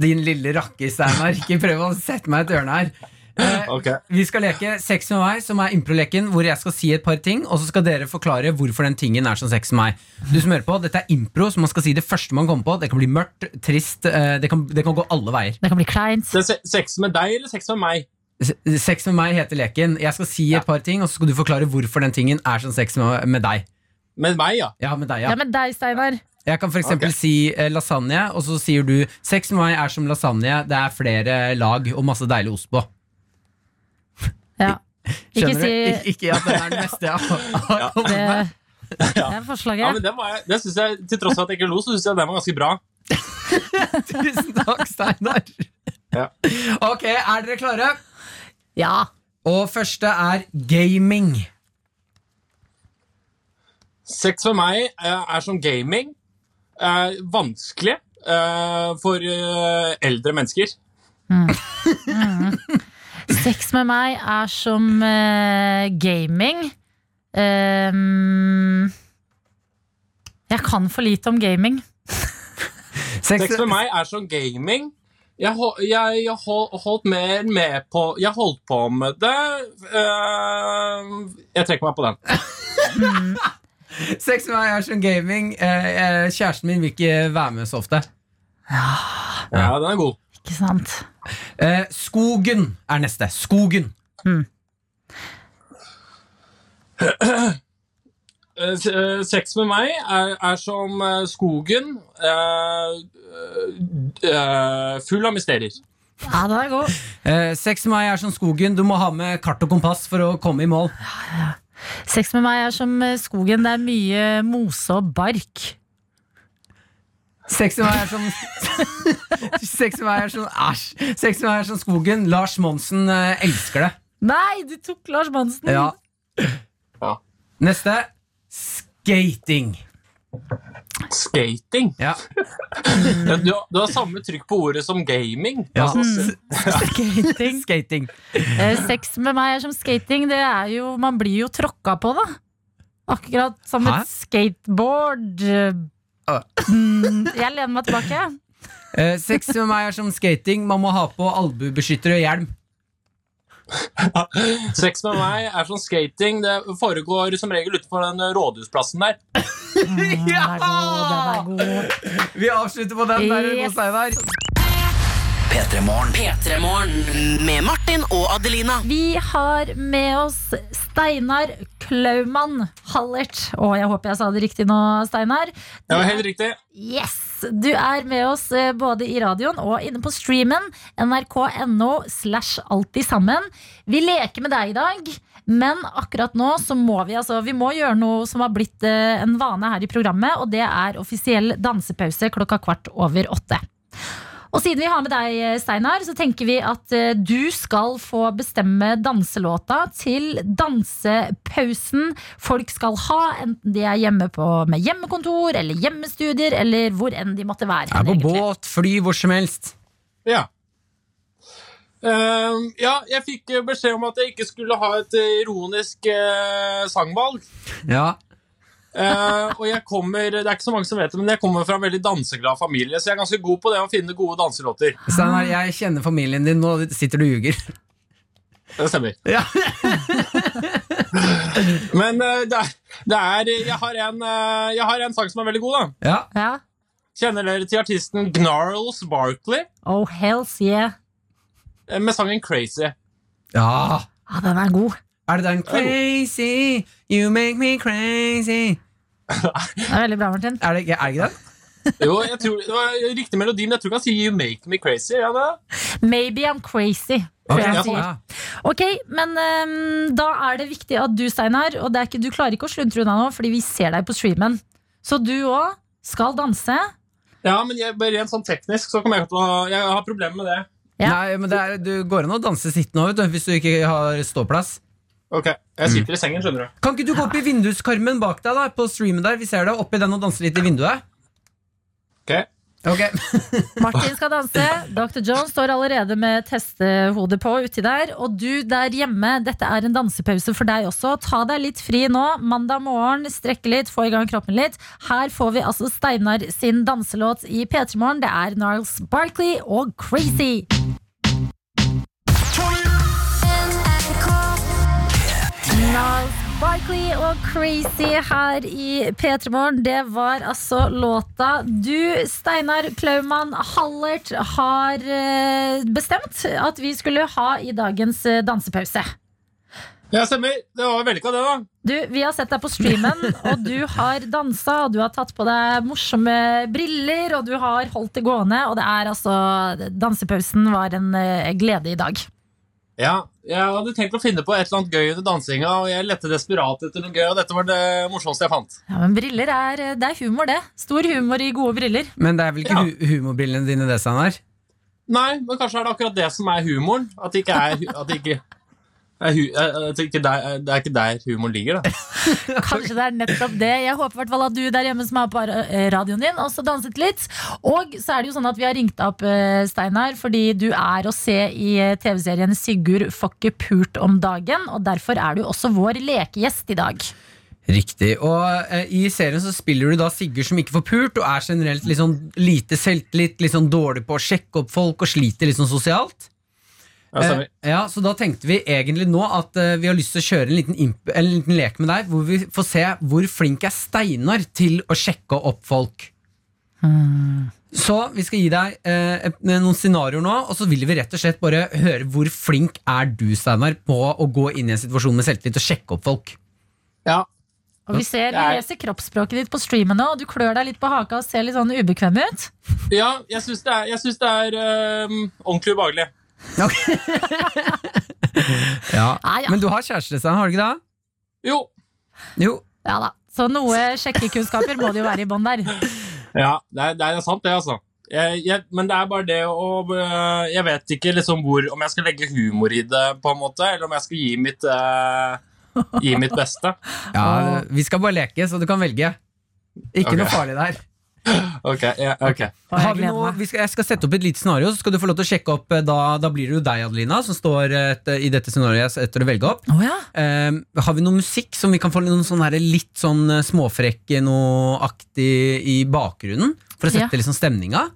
[SPEAKER 4] Din lille rakker, Steinar. Ikke prøv å sette meg et ørne her. Eh,
[SPEAKER 9] Ok.
[SPEAKER 4] Vi skal leke Sex med meg, som er improleken hvor jeg skal si et par ting, og så skal dere forklare hvorfor den tingen er som sex med meg. Du som hører på, Dette er impro, så man skal si det første man kommer på. Det kan bli mørkt, trist, eh, det kan, det kan gå alle veier.
[SPEAKER 3] Det kan bli kleint.
[SPEAKER 9] Det er se- sex med deg eller sex med meg?
[SPEAKER 4] Se- Sex med meg heter leken. Jeg skal si et par ting, og så skal du forklare hvorfor den tingen er som sex med, med deg.
[SPEAKER 9] Med meg, ja.
[SPEAKER 4] Ja, med deg,
[SPEAKER 3] Ja,
[SPEAKER 4] ja.
[SPEAKER 3] men deg, Steinar.
[SPEAKER 4] Jeg kan f.eks. eksempel si eh, lasagne, og så sier du sex med meg er som lasagne, det er flere lag og masse deilig ost på.
[SPEAKER 3] Ja. Ikke
[SPEAKER 4] Skjønner
[SPEAKER 3] si
[SPEAKER 4] du? Ik ikke at den er den beste jeg har- har kommet
[SPEAKER 3] det.
[SPEAKER 4] med.
[SPEAKER 3] Det er
[SPEAKER 9] ja
[SPEAKER 3] forslaget.
[SPEAKER 9] men den var jeg, den synes jeg, til tross for at jeg ikke lo, så syns jeg den var ganske bra.
[SPEAKER 4] Tusen takk, Steinar. Ok, er dere klare?
[SPEAKER 3] Ja.
[SPEAKER 4] Og første er gaming.
[SPEAKER 9] Sex for meg eh, er som gaming. Eh, vanskelig eh, for eh, eldre mennesker.
[SPEAKER 3] Sex med meg er som eh, gaming. Ehm, jeg kan for lite om gaming.
[SPEAKER 9] Sex for meg er som gaming. Jeg, hol- jeg, jeg hol- holdt mer med på Jeg holdt på med det eh, Jeg trekker meg på den.
[SPEAKER 4] Sex med meg er som gaming. Eh, eh, kjæresten min vil ikke være med så ofte.
[SPEAKER 9] Ja, den er god.
[SPEAKER 3] Ikke sant?
[SPEAKER 4] Eh, skogen er neste. Skogen.
[SPEAKER 9] Eh, s- eh, sex med meg er, er som eh, skogen eh, eh, full av mysterier.
[SPEAKER 3] Ja, den er god.
[SPEAKER 4] Eh, sex med meg er som skogen. Du må ha med kart og kompass for å komme i mål.
[SPEAKER 3] Sex med meg er som eh, skogen. Det er mye mose og bark.
[SPEAKER 4] Sex med meg er som Sex med meg er som Æsj. Sex med meg er som skogen. Lars Monsen eh, elsker det.
[SPEAKER 3] Nei, du tok Lars Monsen!
[SPEAKER 4] Ja.
[SPEAKER 9] Ja.
[SPEAKER 4] Neste. Skating.
[SPEAKER 9] Skating.
[SPEAKER 4] Ja.
[SPEAKER 9] Ja, Du, har- du har samme trykk på ordet som gaming.
[SPEAKER 4] Ja. Mm.
[SPEAKER 9] Altså,
[SPEAKER 3] Skating.
[SPEAKER 4] Skating.
[SPEAKER 3] Eh, Sex med meg er som skating. Det er jo, man blir jo tråkka på, da. Akkurat som
[SPEAKER 4] Hæ?
[SPEAKER 3] et skateboard.
[SPEAKER 4] Ah.
[SPEAKER 3] Mm, jeg lener meg tilbake.
[SPEAKER 4] Eh, sex med meg er som skating. Man må ha på albuebeskytter og hjelm.
[SPEAKER 9] sex med meg er som skating. Det foregår som regel utenfor den rådhusplassen der.
[SPEAKER 3] Mm, den er god, den er god.
[SPEAKER 4] Vi avslutter på den der,
[SPEAKER 3] Yes.
[SPEAKER 4] Mos Einar.
[SPEAKER 2] P3morgen med Martin og Adelina.
[SPEAKER 3] Vi har med oss Steinar Klaumann Hallert. Å, jeg håper jeg sa det riktig nå, Steinar.
[SPEAKER 9] Det var helt riktig.
[SPEAKER 3] Yes! Du er med oss eh, både i radioen og inne på streamen. NRK.no slash alltid sammen. Vi leker med deg i dag, men akkurat nå så må vi altså Vi må gjøre noe som har blitt eh, en vane her i programmet, og det er offisiell dansepause klokka kvart over åtte. Og siden vi har med deg, eh, Steinar, så tenker vi at eh, du skal få bestemme danselåta til dansepausen folk skal ha, enten de er hjemme på, med hjemmekontor eller hjemmestudier, eller hvor enn de måtte være.
[SPEAKER 4] Er på
[SPEAKER 3] egentlig.
[SPEAKER 4] båt, fly, hvor som helst.
[SPEAKER 9] Ja. Ehm, ja, jeg fikk eh, beskjed om at jeg ikke skulle ha et eh, ironisk eh, sangvalg.
[SPEAKER 4] Ja.
[SPEAKER 9] Eh, og jeg kommer Det er ikke så mange som vet det, men jeg kommer fra en veldig danseglad familie, så jeg er ganske god på det å finne gode danselåter.
[SPEAKER 4] Steinar, jeg kjenner familien din nå. Sitter du og ljuger?
[SPEAKER 9] Det stemmer.
[SPEAKER 4] Ja.
[SPEAKER 9] Men eh, det er, det er jeg, har en, eh, jeg har en sang som er veldig god, da.
[SPEAKER 4] Ja.
[SPEAKER 3] Ja.
[SPEAKER 9] Kjenner dere til artisten Gnarls Barkley
[SPEAKER 3] Oh, hells yeah.
[SPEAKER 9] eh, med sangen Crazy?
[SPEAKER 4] ja.
[SPEAKER 3] Ja, den er god.
[SPEAKER 4] Er det den Crazy, you make me crazy
[SPEAKER 3] Den er veldig bra, Martin.
[SPEAKER 4] Er det, ikke- er det ikke den?
[SPEAKER 9] Jo, jeg tror, det var riktig melodi, men jeg tror ikke han sier You Make Me Crazy. Ja, det?
[SPEAKER 3] Maybe I'm crazy. tror jeg
[SPEAKER 9] ja.
[SPEAKER 3] han sier.
[SPEAKER 4] ja.
[SPEAKER 3] Ok, men ehm, da er det viktig at du, Steinar Og det er ikke, du klarer ikke å sluntre unna nå, fordi vi ser deg på streamen. Så du òg skal danse.
[SPEAKER 9] ja men jeg, bare rent sånn teknisk så kommer jeg til å Jeg har problemer med det.
[SPEAKER 3] Ja.
[SPEAKER 4] Nei, men det er, du går an å danse sittende òg, vet du, hvis du ikke har ståplass.
[SPEAKER 9] Ok, Jeg sitter i sengen, skjønner du.
[SPEAKER 4] Kan ikke du gå opp i vinduskarmen bak deg, da? På streamen der, vi ser deg oppi den og danse litt i vinduet.
[SPEAKER 9] Ok,
[SPEAKER 4] Ok,
[SPEAKER 3] Martin skal danse. Dr. Jones står allerede med testehodet på uti der. Og du der hjemme, dette er en dansepause for deg også. Ta deg litt fri nå. Mandag morgen, strekke litt, få i gang kroppen litt. Her får vi altså Steinar sin danselåt i P3 Morgen. Det er Niles Barkley og Crazy. Niles Barkley og Crazy her i P3 Morgen. Det var altså låta du, Steinar Klaumann Hallert, har eh, bestemt at vi skulle ha i dagens eh, dansepause.
[SPEAKER 9] Ja, stemmer. Det var vellykka, det, da.
[SPEAKER 3] Du, Vi har sett deg på streamen, og du har dansa, og du har tatt på deg morsomme briller, og du har holdt det gående, og det er altså Dansepausen var en eh, glede i dag.
[SPEAKER 9] Ja, Jeg hadde tenkt å finne på et eller annet gøy under dansinga, og jeg lette desperat etter noe gøy, og dette var det morsomste jeg fant.
[SPEAKER 3] Ja, Men briller er Det er humor, det. Stor humor i gode briller.
[SPEAKER 4] Men det er vel ikke
[SPEAKER 9] Ja.
[SPEAKER 4] hu humorbrillene dine, det, Steinar?
[SPEAKER 9] Nei, men kanskje er det akkurat det som er humoren. At det ikke er hu- At det ikke er hu- at det, ikke der, det er ikke der humoren ligger, da.
[SPEAKER 3] Kanskje det er nettopp det. Jeg håper i hvert fall at du der hjemme som er på eh, radioen din, også danset litt. Og så er det jo sånn at vi har ringt deg opp, eh, Steinar, fordi du er å se i eh, TV-serien Sigurd får ikke pult om dagen. Og derfor er du også vår lekegjest i dag.
[SPEAKER 4] Riktig. Og eh, i serien så spiller du da Sigurd som ikke får pult, og er generelt litt sånn lite selvtillit, litt sånn dårlig på å sjekke opp folk og sliter litt sånn sosialt.
[SPEAKER 9] Ja, stemmer.
[SPEAKER 4] Eh, ja, så da tenkte vi egentlig nå at eh, vi har lyst til å kjøre en liten, imp en liten lek med deg, hvor vi får se hvor flink er Steinar til å sjekke opp folk. Så vi skal gi deg eh, et- noen scenarioer nå, og så vil vi rett og slett bare høre hvor flink er du, Steinar, på å gå inn i en situasjon med selvtillit og sjekke opp folk.
[SPEAKER 9] Ja.
[SPEAKER 3] Og vi ser, vi
[SPEAKER 9] Det er-
[SPEAKER 3] leser kroppsspråket ditt på streamen nå, og du klør deg litt på haka og ser litt sånn ubekvem ut.
[SPEAKER 9] ja jeg syns det er, jeg synes det er øhm, ordentlig ubehagelig.
[SPEAKER 4] Ja.
[SPEAKER 3] Nei, ja.
[SPEAKER 4] Men du har kjæreste, Stein, har du ikke det?
[SPEAKER 9] Jo.
[SPEAKER 4] Jo.
[SPEAKER 3] Ja da. Så noe sjekkekunnskaper må det jo være i bånn der.
[SPEAKER 9] Ja, det er, det er sant, det, altså. Jeg, jeg, men det er bare det å øh, Jeg vet ikke liksom hvor Om jeg skal legge humor i det, på en måte, eller om jeg skal gi mitt, øh, gi mitt beste.
[SPEAKER 4] Ja, vi skal bare leke, så du kan velge. Ikke
[SPEAKER 9] Ok.
[SPEAKER 4] noe farlig der.
[SPEAKER 9] Ok, ja, ok.
[SPEAKER 3] Og
[SPEAKER 4] Har
[SPEAKER 3] jeg
[SPEAKER 4] vi
[SPEAKER 3] gleder
[SPEAKER 4] noe,
[SPEAKER 3] meg.
[SPEAKER 4] vi skal, jeg skal sette opp et lite scenario, så skal du få lov til å sjekke opp. eh, Da, da blir det jo deg, Adelina, som står eh, et, i dette scenarioet etter å velge opp.
[SPEAKER 3] Å ja.
[SPEAKER 4] Ehm, har vi noe musikk som vi kan få noen sånn her, litt sånn eh, småfrekk noe aktig i bakgrunnen? For å
[SPEAKER 3] Ja.
[SPEAKER 4] sette liksom stemninga?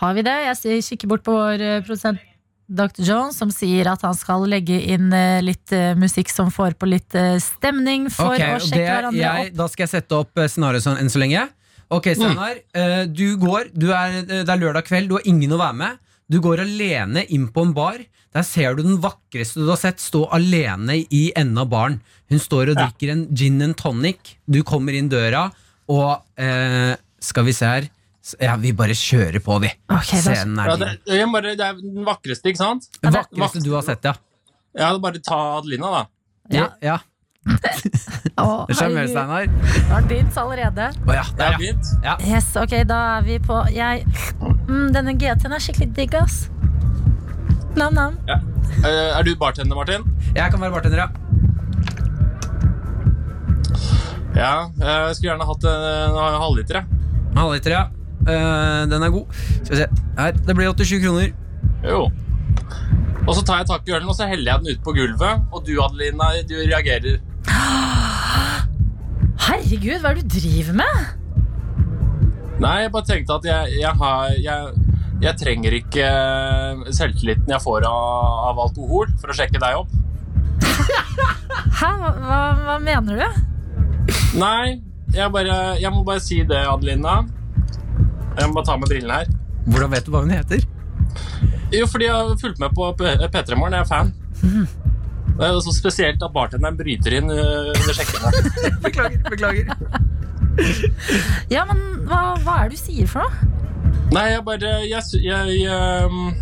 [SPEAKER 3] Har vi det? Jeg s- kikker bort på vår eh, produsent Dr. Jones, som sier at han skal legge inn eh, litt eh, musikk som får på litt eh, stemning, for
[SPEAKER 4] Ok,
[SPEAKER 3] å
[SPEAKER 4] og
[SPEAKER 3] sjekke
[SPEAKER 4] det
[SPEAKER 3] hverandre Mm.
[SPEAKER 4] jeg, Da skal jeg sette opp eh, scenarioet sånn, enn så lenge. Ok, Steinar. eh, Du går, du er, eh, det er lørdag kveld, du har ingen å være med. Du går alene inn på en bar. Der ser du den vakreste du har sett, stå alene i enden av baren. Hun står og drikker en gin and tonic. Du kommer inn døra, og eh, skal vi se her S- Ja, vi bare kjører på, vi.
[SPEAKER 3] Ok, da-
[SPEAKER 4] Scenen er
[SPEAKER 9] Ja,
[SPEAKER 4] din.
[SPEAKER 9] det, jeg bare, det er den vakreste, ikke sant?
[SPEAKER 4] Den vakreste du har sett, ja.
[SPEAKER 9] Ja, bare ta Adelina, da.
[SPEAKER 4] Ja, ja.
[SPEAKER 3] opp. Å,
[SPEAKER 4] Det skjer mer,
[SPEAKER 3] herregud,
[SPEAKER 4] Steinar.
[SPEAKER 3] det har begynt allerede.
[SPEAKER 4] Å ja,
[SPEAKER 9] Det
[SPEAKER 4] der,
[SPEAKER 9] er
[SPEAKER 4] ja.
[SPEAKER 9] fint.
[SPEAKER 3] Yes, ok, da er vi på jeg, mm, Denne GT-en er skikkelig digg, ass. Nam-nam.
[SPEAKER 9] Eh, Er du bartender, Martin?
[SPEAKER 4] Jeg kan være bartender, ja.
[SPEAKER 9] Ja. eh, Jeg skulle gjerne hatt en en halvliter, jeg.
[SPEAKER 4] Halvliter, ja. Eh, den er god. Skal vi se. Her. Det blir 87 kroner.
[SPEAKER 9] Jo. Og så tar jeg tak i ølen, og så heller jeg den ut på gulvet. Og du, Adelina, du reagerer.
[SPEAKER 3] Herregud, hva er det du driver med?
[SPEAKER 9] Nei, jeg bare tenkte at jeg, jeg har jeg, jeg trenger ikke eh, selvtilliten jeg får av, av alkohol for å sjekke deg opp.
[SPEAKER 3] Hæ, hva, hva, hva mener du?
[SPEAKER 9] Nei, jeg, bare, jeg må bare si det, Adelina. Jeg må bare ta med brillene her.
[SPEAKER 4] Hvordan vet du hva hun heter?
[SPEAKER 9] Jo, fordi jeg har fulgt med på P- P3 Morgen. Jeg er fan. Det er jo så spesielt at bartenderen bryter inn øh, under sjekkene.
[SPEAKER 4] Beklager. beklager
[SPEAKER 3] Ja, men hva, hva er det du sier for noe?
[SPEAKER 9] Nei, jeg bare Jeg, sy- jeg, øhm,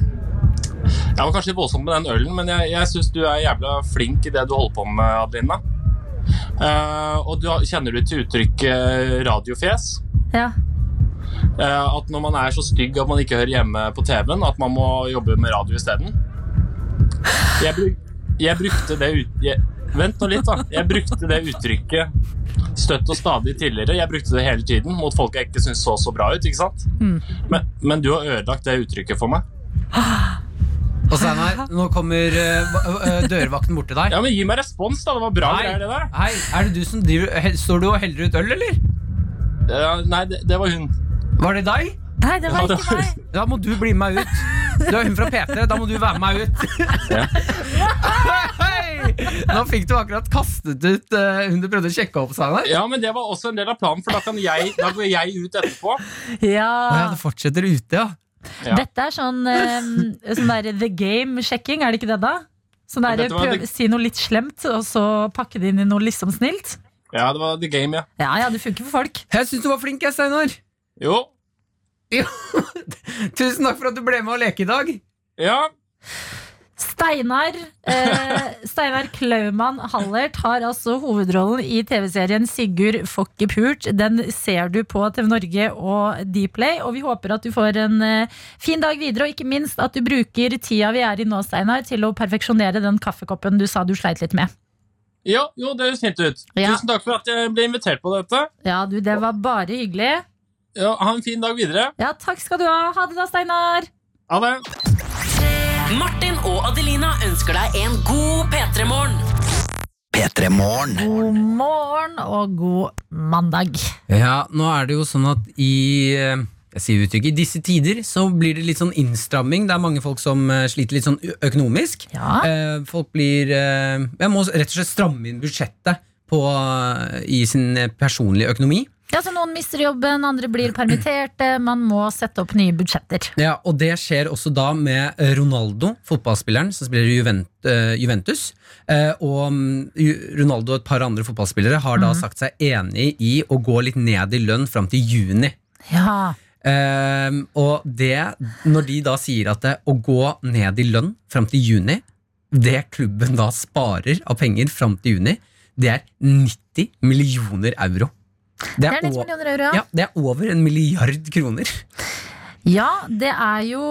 [SPEAKER 9] jeg var kanskje litt voldsom med den ølen, men jeg, jeg syns du er jævla flink i det du holder på med, Adelina. Eh, og du har- kjenner du til uttrykket radiofjes?
[SPEAKER 3] Ja,
[SPEAKER 9] Eh, at når man er så stygg at man ikke hører hjemme på TV-en, at man må jobbe med radio isteden. Jeg, bruk, jeg brukte det ut... Jeg, vent nå litt, da. Jeg brukte det uttrykket støtt og stadig tidligere. Jeg brukte det hele tiden mot folk jeg ikke syntes så så bra ut. ikke sant? Men, men du har ødelagt det uttrykket for meg.
[SPEAKER 4] Og Steinar, nå kommer eh, va- eh, dørvakten bort til deg.
[SPEAKER 9] Ja, men Gi meg respons, da! Det var bra
[SPEAKER 4] Nei.
[SPEAKER 9] greier, det der.
[SPEAKER 4] Hei, er det du som driver he- Står du og heller ut øl, eller?
[SPEAKER 9] Eh, nei, det, det var hun.
[SPEAKER 4] Var det deg?
[SPEAKER 3] Nei, det var
[SPEAKER 9] Ja, det
[SPEAKER 3] ikke
[SPEAKER 9] var-
[SPEAKER 3] meg.
[SPEAKER 4] Da må du bli med meg ut. Du er hun fra P3, da må du være med meg ut.
[SPEAKER 9] Ja.
[SPEAKER 4] Hei! Nå fikk du akkurat kastet ut eh, hun du prøvde å sjekke opp, Steinar.
[SPEAKER 9] Ja, men det var også en del av planen, for da, kan jeg, da går jeg ut etterpå.
[SPEAKER 4] Å
[SPEAKER 3] Ja.
[SPEAKER 4] ja, det fortsetter ute, ja.
[SPEAKER 9] Ja.
[SPEAKER 3] Dette er sånn, eh, sånn der The Game-sjekking, er det ikke det, da? Sånn der,
[SPEAKER 9] Dette var
[SPEAKER 3] prøv,
[SPEAKER 9] The-
[SPEAKER 3] Si noe litt slemt, og så pakke det inn i noe liksom snilt.
[SPEAKER 9] Ja, det var the game, ja.
[SPEAKER 3] Ja, ja, det funker for folk.
[SPEAKER 4] Jeg syns du var flink, jeg, Steinar.
[SPEAKER 9] Jo.
[SPEAKER 4] Jo. Tusen takk for at du ble med og leke i dag.
[SPEAKER 9] Ja.
[SPEAKER 3] Steinar eh, Steinar Klaumann Hallert har altså hovedrollen i TV-serien Sigurd Fokke Pult. Den ser du på TV Norge og Dplay, og vi håper at du får en eh, fin dag videre. Og ikke minst at du bruker tida vi er i nå, Steinar, til å perfeksjonere den kaffekoppen du sa du sleit litt med.
[SPEAKER 9] Ja, jo, det høres fint ut.
[SPEAKER 3] Ja.
[SPEAKER 9] Tusen takk for at jeg ble invitert på dette.
[SPEAKER 3] Ja, du, det var bare hyggelig.
[SPEAKER 9] Ja, ha en fin dag videre.
[SPEAKER 3] Ja, takk skal du ha. Ha det da, Steinar.
[SPEAKER 9] Ha det.
[SPEAKER 2] Martin og Adelina ønsker deg en god P3-morgen.
[SPEAKER 3] God morgen og god mandag.
[SPEAKER 4] Ja, nå er det jo sånn at i eh, jeg sier uttrykket, i disse tider så blir det litt sånn innstramming. Det er mange folk som eh, sliter litt sånn ø- økonomisk.
[SPEAKER 3] Ja.
[SPEAKER 4] Eh, Folk blir eh, Jeg må rett og slett stramme inn budsjettet på, eh, i sin eh, personlige økonomi.
[SPEAKER 3] Ja, så Noen mister jobben, andre blir permitterte. Man må sette opp nye budsjetter.
[SPEAKER 4] Ja, og det skjer også da med eh, Ronaldo, fotballspilleren som spiller i Juvent, eh, Juventus. Eh, og mm, Ju- Ronaldo og et par andre fotballspillere har da sagt seg enig i å gå litt ned i lønn fram til juni.
[SPEAKER 3] Ja,
[SPEAKER 4] Ehm, og det, når de da sier at det, å gå ned i lønn fram til juni Det klubben da sparer av penger fram til juni, det er 90 millioner euro. Det
[SPEAKER 3] Det
[SPEAKER 4] er,
[SPEAKER 3] er 90
[SPEAKER 4] o-
[SPEAKER 3] millioner euro, ja.
[SPEAKER 4] ja, det er over en milliard kroner.
[SPEAKER 3] Ja, det er jo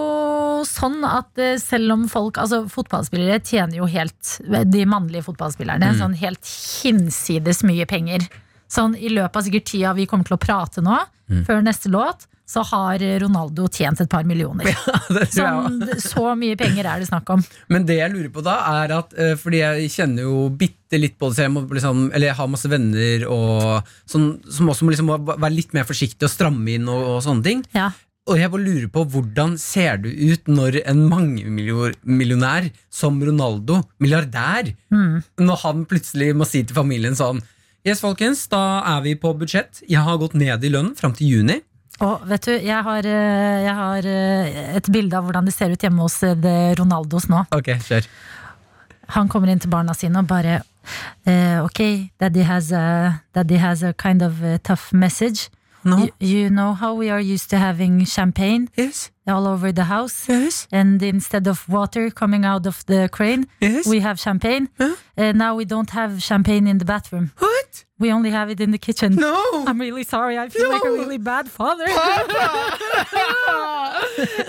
[SPEAKER 3] sånn at eh, selv om folk Altså, fotballspillere tjener jo helt De mannlige fotballspillerne
[SPEAKER 4] Mm.
[SPEAKER 3] sånn helt hinsides mye penger. Sånn i løpet av sikkert tida vi kommer til å prate nå,
[SPEAKER 4] Mm.
[SPEAKER 3] før neste låt, så har Ronaldo tjent et par millioner.
[SPEAKER 4] det tror jeg også.
[SPEAKER 3] Sånn, så mye penger er det snakk om.
[SPEAKER 4] Men det jeg lurer på da, er at eh, Fordi jeg kjenner jo bitte litt på det, så jeg må liksom, eller jeg har masse venner og sånn, som også må liksom være litt mer forsiktig og stramme inn og, og sånne ting.
[SPEAKER 3] Ja.
[SPEAKER 4] Og jeg bare lurer på hvordan ser du ut når en mangemillionær som Ronaldo, milliardær,
[SPEAKER 3] Mm.
[SPEAKER 4] når han plutselig må si til familien sånn Yes, folkens, da er vi på budsjett. Jeg har gått ned i lønn fram til juni.
[SPEAKER 3] Og vet du, jeg har, eh, jeg har eh, et bilde av hvordan det ser ut hjemme hos eh, det Ronaldos nå.
[SPEAKER 4] Ok, kjør.
[SPEAKER 3] Han kommer inn til barna sine og bare eh, Ok, daddy has a, daddy has a kind of eh, tough message.
[SPEAKER 4] No.
[SPEAKER 3] You, you know how we are used to having champagne
[SPEAKER 4] Yes,
[SPEAKER 3] all over the house?
[SPEAKER 4] yes,
[SPEAKER 3] And instead of water coming out of the crane,
[SPEAKER 4] yes.
[SPEAKER 3] we have champagne.
[SPEAKER 4] Huh?
[SPEAKER 3] Eh, now we don't have champagne in the bathroom.
[SPEAKER 4] What?
[SPEAKER 3] We only have it in the kitchen.
[SPEAKER 4] No!
[SPEAKER 3] I'm really sorry. I feel like a
[SPEAKER 4] No.
[SPEAKER 3] really bad father.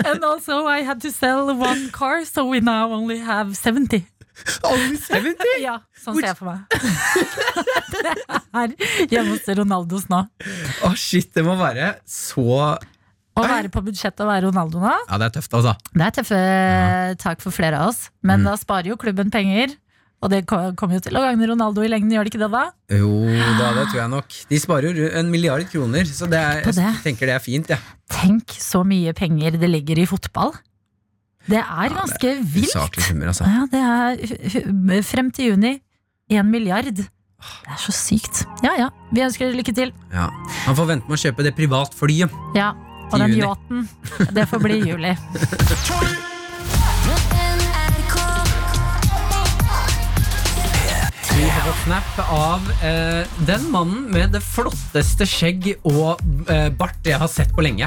[SPEAKER 3] and also, I had to sell one car, so we now only have 70.
[SPEAKER 4] Only 70?
[SPEAKER 3] Ja, sånn ser jeg for meg. det er hjemme hos Ronaldos nå.
[SPEAKER 4] Å, shit, det må være så
[SPEAKER 3] Å være på budsjettet og være Ronaldo nå,
[SPEAKER 4] Ja, det er tøft, altså.
[SPEAKER 3] det er tøffe tak for flere av oss. Men da sparer jo klubben penger. Og det ko- kommer jo til å gagne Ronaldo i lengden, gjør det ikke det da?
[SPEAKER 4] Jo da, det tror jeg nok. De sparer jo en milliard kroner, så det er,
[SPEAKER 3] På det.
[SPEAKER 4] jeg tenker det er fint. Ja.
[SPEAKER 3] Tenk så mye penger det ligger i fotball. Det er ganske vilt.
[SPEAKER 4] Usaklige summer, altså.
[SPEAKER 3] Ja, det er hu- hu- frem til juni én milliard. Det er så sykt. Ja ja, vi ønsker dere lykke til.
[SPEAKER 4] Ja. Han får vente med å kjøpe det privatflyet.
[SPEAKER 3] Ja, og
[SPEAKER 4] Til
[SPEAKER 3] den
[SPEAKER 4] juni.
[SPEAKER 3] yachten. Det får bli i juli.
[SPEAKER 4] Vi har fått snap av eh, den mannen med det flotteste skjegg og eh, bart jeg har sett på lenge.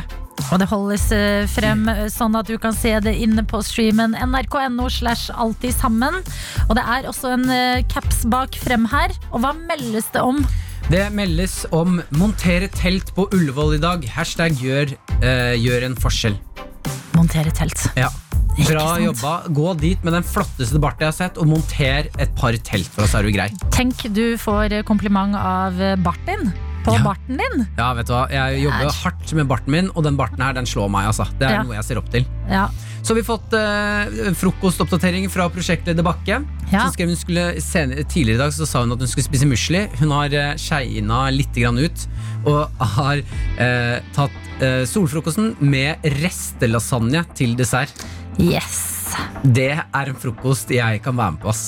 [SPEAKER 3] Og det holdes eh, frem eh, sånn at du kan se det inne på streamen nrk.no slash alltid sammen. Og det er også en eh, caps bak frem her. Og hva meldes det om?
[SPEAKER 4] Det meldes om 'montere telt på Ullevål i dag'. Hashtag gjør, eh, gjør en forskjell.
[SPEAKER 3] Montere telt.
[SPEAKER 4] Ja.
[SPEAKER 3] Ikke
[SPEAKER 4] Bra
[SPEAKER 3] sant?
[SPEAKER 4] jobba. Gå dit med den flotteste barten jeg har sett, og monter et par telt for oss, er du grei.
[SPEAKER 3] Tenk du får eh, kompliment av eh, barten. På
[SPEAKER 4] Ja.
[SPEAKER 3] barten din.
[SPEAKER 4] Ja, vet du hva? Jeg jobber
[SPEAKER 3] Æsj.
[SPEAKER 4] hardt med barten min, og den barten her den slår meg. altså. Det er
[SPEAKER 3] Ja.
[SPEAKER 4] noe jeg ser opp til.
[SPEAKER 3] Ja.
[SPEAKER 4] Så har vi fått eh, frokostoppdatering fra prosjektleder Bakke.
[SPEAKER 3] Ja.
[SPEAKER 4] Som skrev hun skulle, sen- tidligere i dag så sa hun at hun skulle spise musli. Hun har uh, skeina litt grann ut og har eh, tatt eh, solfrokosten med restelasagne til dessert.
[SPEAKER 3] Yes.
[SPEAKER 4] Det er en frokost jeg kan være med på. ass.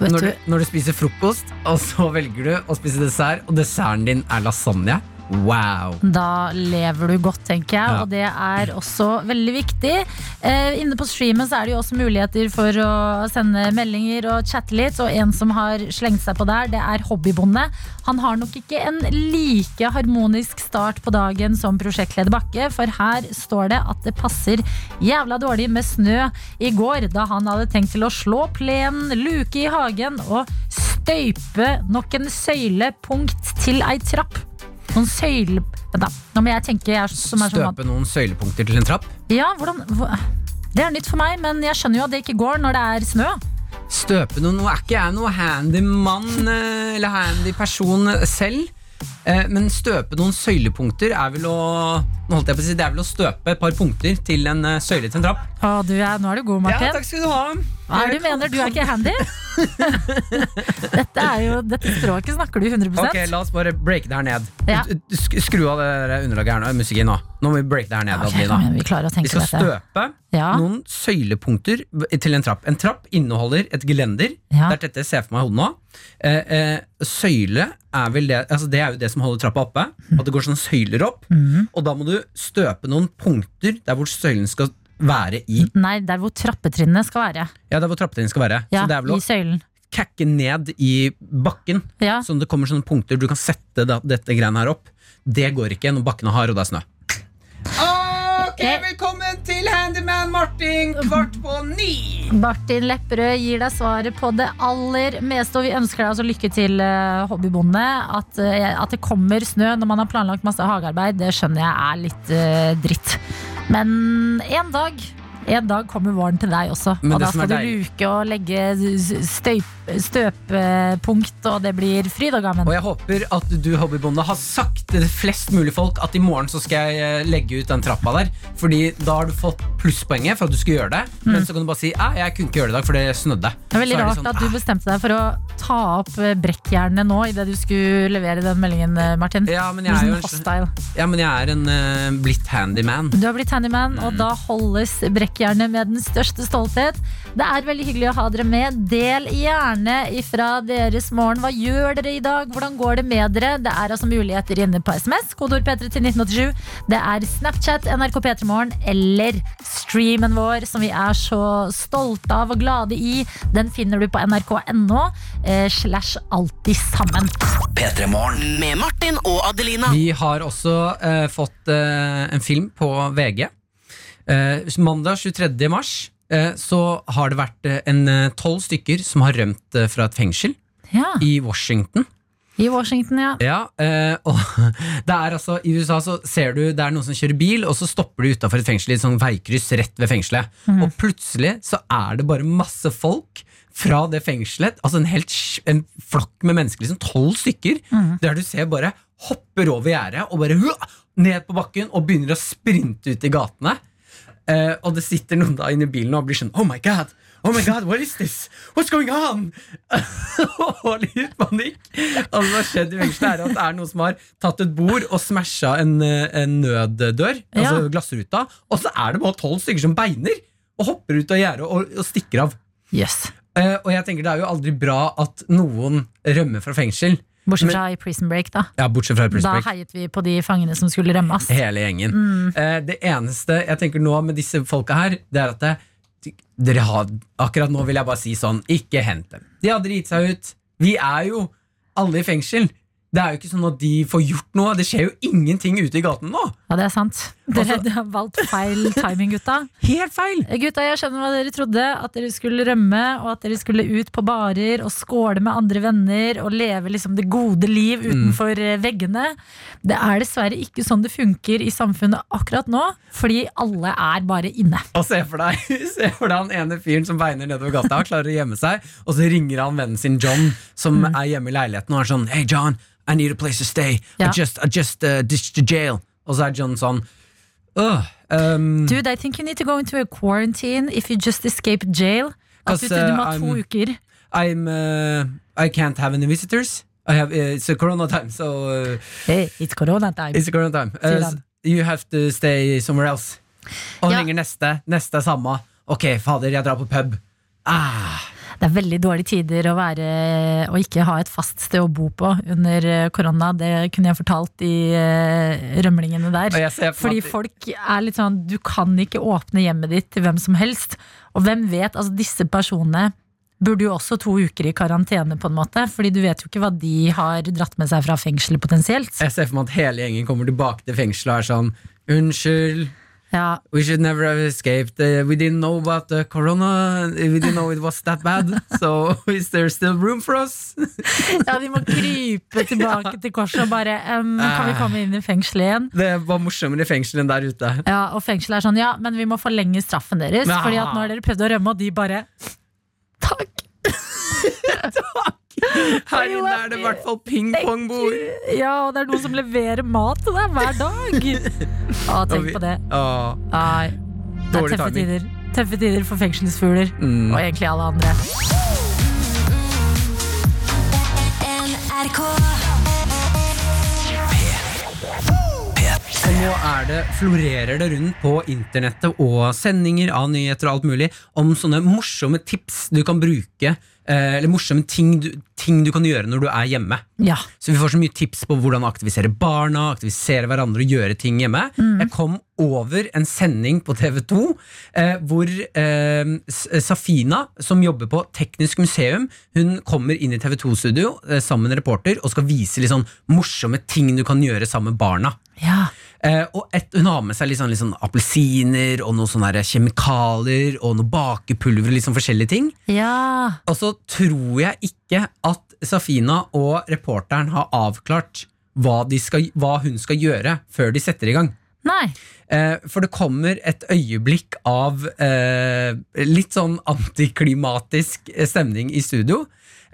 [SPEAKER 3] Vet
[SPEAKER 4] Når
[SPEAKER 3] du,
[SPEAKER 4] du, når du spiser frokost, og så velger du å spise dessert, og desserten din er lasagne. Wow.
[SPEAKER 3] Da lever du godt, tenker jeg,
[SPEAKER 4] Ja.
[SPEAKER 3] og det er også veldig viktig. Eh, inne på streamen så er det jo også muligheter for å sende meldinger og chatte litt, og en som har slengt seg på der, det er Hobbybonde. Han har nok ikke en like harmonisk start på dagen som prosjektleder Bakke, for her står det at det passer jævla dårlig med snø i går, da han hadde tenkt til å slå plenen, luke i hagen og støype nok en søylepunkt til ei trapp. Noen søyle... Vent da, nå må jeg tenke jeg er, som er sånn som vant.
[SPEAKER 4] Støpe noen søylepunkter til en trapp.
[SPEAKER 3] Ja, hvordan... hva- Det er nytt for meg, men jeg skjønner jo at det ikke går når det er snø.
[SPEAKER 4] Støpe noen Nå er ikke jeg noe handy mann eh, eller handy person selv. eh, Men støpe noen søylepunkter er vel å Nå holdt jeg på å si Det er vel å støpe et par punkter til en eh, søyle til en trapp.
[SPEAKER 3] Å, du er, nå er du god, Martin.
[SPEAKER 4] skal du ha.
[SPEAKER 3] Hva er det du mener? Du er ikke handy? dette, er jo, dette språket snakker du 100
[SPEAKER 4] Ok, La oss bare breake det her ned.
[SPEAKER 3] Ja.
[SPEAKER 4] Sk- Skru av det der underlaget her nå, musikken nå. Nå må vi breake det her ned.
[SPEAKER 3] Ok,
[SPEAKER 4] Adelina.
[SPEAKER 3] kom igjen, vi klarer å
[SPEAKER 4] Vi
[SPEAKER 3] tenke
[SPEAKER 4] skal
[SPEAKER 3] dette.
[SPEAKER 4] støpe
[SPEAKER 3] Ja.
[SPEAKER 4] noen søylepunkter til en trapp. En trapp inneholder et gelender.
[SPEAKER 3] Ja.
[SPEAKER 4] Det er dette jeg ser for meg i hodet nå. Eh, eh, søyle er vel det altså Det er jo det som holder trappa oppe.
[SPEAKER 3] Mhm.
[SPEAKER 4] At det går sånne søyler opp. Og da må du støpe noen punkter der hvor søylen skal være i.
[SPEAKER 3] Nei, der hvor trappetrinnene skal være.
[SPEAKER 4] Ja, der hvor trappetrinnen skal være.
[SPEAKER 3] Ja,
[SPEAKER 4] Så det er vel å
[SPEAKER 3] I søylen.
[SPEAKER 4] kakke ned i bakken,
[SPEAKER 3] Ja.
[SPEAKER 4] sånn det kommer sånne punkter du kan sette da, dette greiene her opp. Det går ikke når bakken er hard og det er snø. Ok,
[SPEAKER 3] Eh.
[SPEAKER 4] velkommen til Handyman Martin, kvart på ni!
[SPEAKER 3] Martin Lepperød gir deg svaret på det aller meste, og vi ønsker deg altså lykke til, eh, hobbybonde. At, eh, at det kommer snø når man har planlagt masse hagearbeid, det skjønner jeg er litt eh, dritt. Men en dag en dag kommer våren til deg også,
[SPEAKER 4] Men
[SPEAKER 3] og
[SPEAKER 4] det
[SPEAKER 3] da
[SPEAKER 4] som
[SPEAKER 3] skal
[SPEAKER 4] er
[SPEAKER 3] du
[SPEAKER 4] deilig-
[SPEAKER 3] luke og legge støyp, støpepunkt, og det blir fryd og gammen.
[SPEAKER 4] Og jeg håper at du, hobbybonde, har sagt til flest mulig folk at i morgen så skal jeg eh, legge ut den trappa der. Fordi da har du fått plusspoenget for at du skulle gjøre det. Men så kan du bare si at jeg kunne ikke gjøre det i dag, for det snødde.
[SPEAKER 3] Mm. Det er veldig
[SPEAKER 4] Så
[SPEAKER 3] rart
[SPEAKER 4] det sånn,
[SPEAKER 3] at du
[SPEAKER 4] «Ah,
[SPEAKER 3] bestemte deg for å ta opp eh, brekkjernet nå idet du skulle levere den meldingen, eh, Martin.
[SPEAKER 4] ja, men
[SPEAKER 3] Du
[SPEAKER 4] jeg
[SPEAKER 3] er
[SPEAKER 4] er jo
[SPEAKER 3] sånn
[SPEAKER 4] en,
[SPEAKER 3] hostile.
[SPEAKER 4] ja, men jeg er en eh, blitt handyman.
[SPEAKER 3] Du har blitt handyman, og da holdes brekkjernet med den største stolthet. Det er veldig hyggelig å ha dere med. Del gjerne ifra deres morgen. Hva gjør dere i dag? Hvordan går det med dere? Det er altså muligheter inne på SMS, kodeord P3 til 1987. Det er Snapchat, NRK P3 Morgen eller streamen vår, som vi er så stolte av og glade i. Den finner du på nrk.no eh, slash alltid sammen.
[SPEAKER 2] Med Martin og Adelina.
[SPEAKER 4] Vi har også eh, fått eh, en film på VG. Eh, mandag 23. mars eh, så har det vært eh, en tolv stykker som har rømt eh, fra et fengsel
[SPEAKER 3] Ja,
[SPEAKER 4] i Washington.
[SPEAKER 3] I Washington, ja.
[SPEAKER 4] Ja, eh, og det er altså I USA så ser du det er noen som kjører bil, og så stopper de utafor et fengsel i et sånt veikryss rett ved fengselet. Og plutselig så er det bare masse folk fra det fengselet, altså en, helt, sj- en flokk med mennesker, liksom tolv stykker, der du ser bare hopper over gjerdet og bare hua, ned på bakken og begynner å sprinte ut i gatene. Eh, og det sitter noen da inni bilen og blir sånn Oh my god! Oh my god, what is this? What's going on? og litt panikk. Og det som har skjedd i fengselet, er at det er noen som har tatt et bord og smasha en, eh, en nøddør,
[SPEAKER 3] Ja.
[SPEAKER 4] altså glassruta, og så er det bare tolv stykker som beiner og hopper ut av gjerdet og, og stikker av.
[SPEAKER 3] Yes.
[SPEAKER 4] Eh, og jeg tenker det er jo aldri bra at noen rømmer fra fengsel.
[SPEAKER 3] Bortsett
[SPEAKER 4] Men-
[SPEAKER 3] fra i Prison Break, da.
[SPEAKER 4] Ja, bortsett fra
[SPEAKER 3] Da
[SPEAKER 4] Prisbreak.
[SPEAKER 3] heiet vi på de fangene som skulle rømmes.
[SPEAKER 4] hele gjengen. Eh, det eneste jeg tenker nå med disse folka her, det er at det, dere har, akkurat nå vil jeg bare si sånn, ikke hent dem. De har driti seg ut. Vi er jo alle i fengsel. Det er jo ikke sånn at de får gjort noe. Det skjer jo ingenting ute i gaten nå.
[SPEAKER 3] Ja, det er sant. Dere dere har valgt feil timing, gutta. Eh,
[SPEAKER 4] Helt feil!
[SPEAKER 3] Gutta, jeg skjønner hva dere trodde. At dere skulle rømme, og at dere skulle ut på barer og skåle med andre venner og leve liksom det gode liv utenfor eh, veggene. Det er dessverre ikke sånn det funker i samfunnet akkurat nå, fordi alle er bare inne.
[SPEAKER 4] Og se for deg, se for deg han ene fyren som beiner nedover gata, klarer å gjemme seg, og så ringer han vennen sin John, som
[SPEAKER 3] Mm.
[SPEAKER 4] er hjemme i leiligheten, og er sånn Hey John, I need a place to stay.
[SPEAKER 3] Ja.
[SPEAKER 4] I just, I just uh, ditched the jail. Og så er John sånn «Ugh, um,
[SPEAKER 3] Dude, I think you need to go into a quarantine if you just escaped jail. At du,
[SPEAKER 4] Cause,
[SPEAKER 3] du må
[SPEAKER 4] eh,
[SPEAKER 3] ha to
[SPEAKER 4] I'm-
[SPEAKER 3] uker.
[SPEAKER 4] I'm uh, I can't have any visitors. I have uh, it's a corona time, so uh,
[SPEAKER 3] Hey, it's corona time.
[SPEAKER 4] it's a corona time.
[SPEAKER 3] Sier
[SPEAKER 4] Uh,
[SPEAKER 3] han.
[SPEAKER 4] you have to stay somewhere else. Og han
[SPEAKER 3] Ja.
[SPEAKER 4] ringer neste. Neste er samme. Ok, fader, jeg drar på pub. Ah,
[SPEAKER 3] Det er veldig dårlige tider å, være, å ikke ha et fast sted å bo på under eh, korona. Det kunne jeg fortalt i eh, rømlingene
[SPEAKER 4] Og
[SPEAKER 3] der.
[SPEAKER 4] jeg ser for
[SPEAKER 3] Fordi
[SPEAKER 4] meg at-
[SPEAKER 3] folk er litt sånn Du kan ikke åpne hjemmet ditt til hvem som helst. Og hvem vet, altså disse personene burde jo også to uker i karantene, på en måte. Fordi du vet jo ikke hva de har dratt med seg fra fengselet, potensielt.
[SPEAKER 4] Jeg ser for meg at hele gjengen kommer tilbake til fengselet og er sånn Unnskyld,
[SPEAKER 3] Ja,
[SPEAKER 4] we should never have escaped. eh, We didn't know about the corona. We didn't know it was that bad. So is there still room for us?
[SPEAKER 3] ja de må krype tilbake til korset og bare em, Kan vi komme inn i fengselet igjen?
[SPEAKER 4] Det var morsommere i fengselet enn der ute.
[SPEAKER 3] Ja, Og fengselet er sånn, ja, men vi må forlenge straffen deres.
[SPEAKER 4] Ja.
[SPEAKER 3] Fordi at nå har dere prøvd å rømme, og de bare Takk!
[SPEAKER 4] Her inne er det i hvert fall ping-pong-bord.
[SPEAKER 3] Ja, og det er noen som leverer mat til deg hver dag! Å,
[SPEAKER 4] Og
[SPEAKER 3] tenk
[SPEAKER 4] vi-
[SPEAKER 3] på det.
[SPEAKER 4] Åh,
[SPEAKER 3] Nei, det er
[SPEAKER 4] Dårlig
[SPEAKER 3] tøffe
[SPEAKER 4] timing. Mm.
[SPEAKER 3] tider. Tøffe tider for fengselsfugler. Og egentlig alle andre.
[SPEAKER 10] NRK.
[SPEAKER 4] Og nå er det, florerer det rundt på internettet og sendinger av nyheter og alt mulig om sånne morsomme tips du kan bruke, eh, eller morsomme ting du, ting du kan gjøre når du er hjemme.
[SPEAKER 3] Ja.
[SPEAKER 4] Så vi får så mye tips på hvordan aktivisere barna, aktivisere hverandre og gjøre ting hjemme. Jeg kom over en sending på TV2 eh, hvor eh, S- Safina, som jobber på Teknisk museum, hun kommer inn i TV2-studio eh, sammen med en reporter og skal vise litt sånn morsomme ting du kan gjøre sammen med barna.
[SPEAKER 3] ja.
[SPEAKER 4] Eh, og et, hun har med seg litt sånn, litt sånn appelsiner og noen sånne her kjemikalier og noe bakepulver og litt sånn forskjellige ting.
[SPEAKER 3] Ja.
[SPEAKER 4] Og så tror jeg ikke at Safina og reporteren har avklart hva, de skal, hva hun skal gjøre før de setter i gang.
[SPEAKER 3] Nei.
[SPEAKER 4] Eh, for det kommer et øyeblikk av eh, litt sånn antiklimatisk eh, stemning i studio,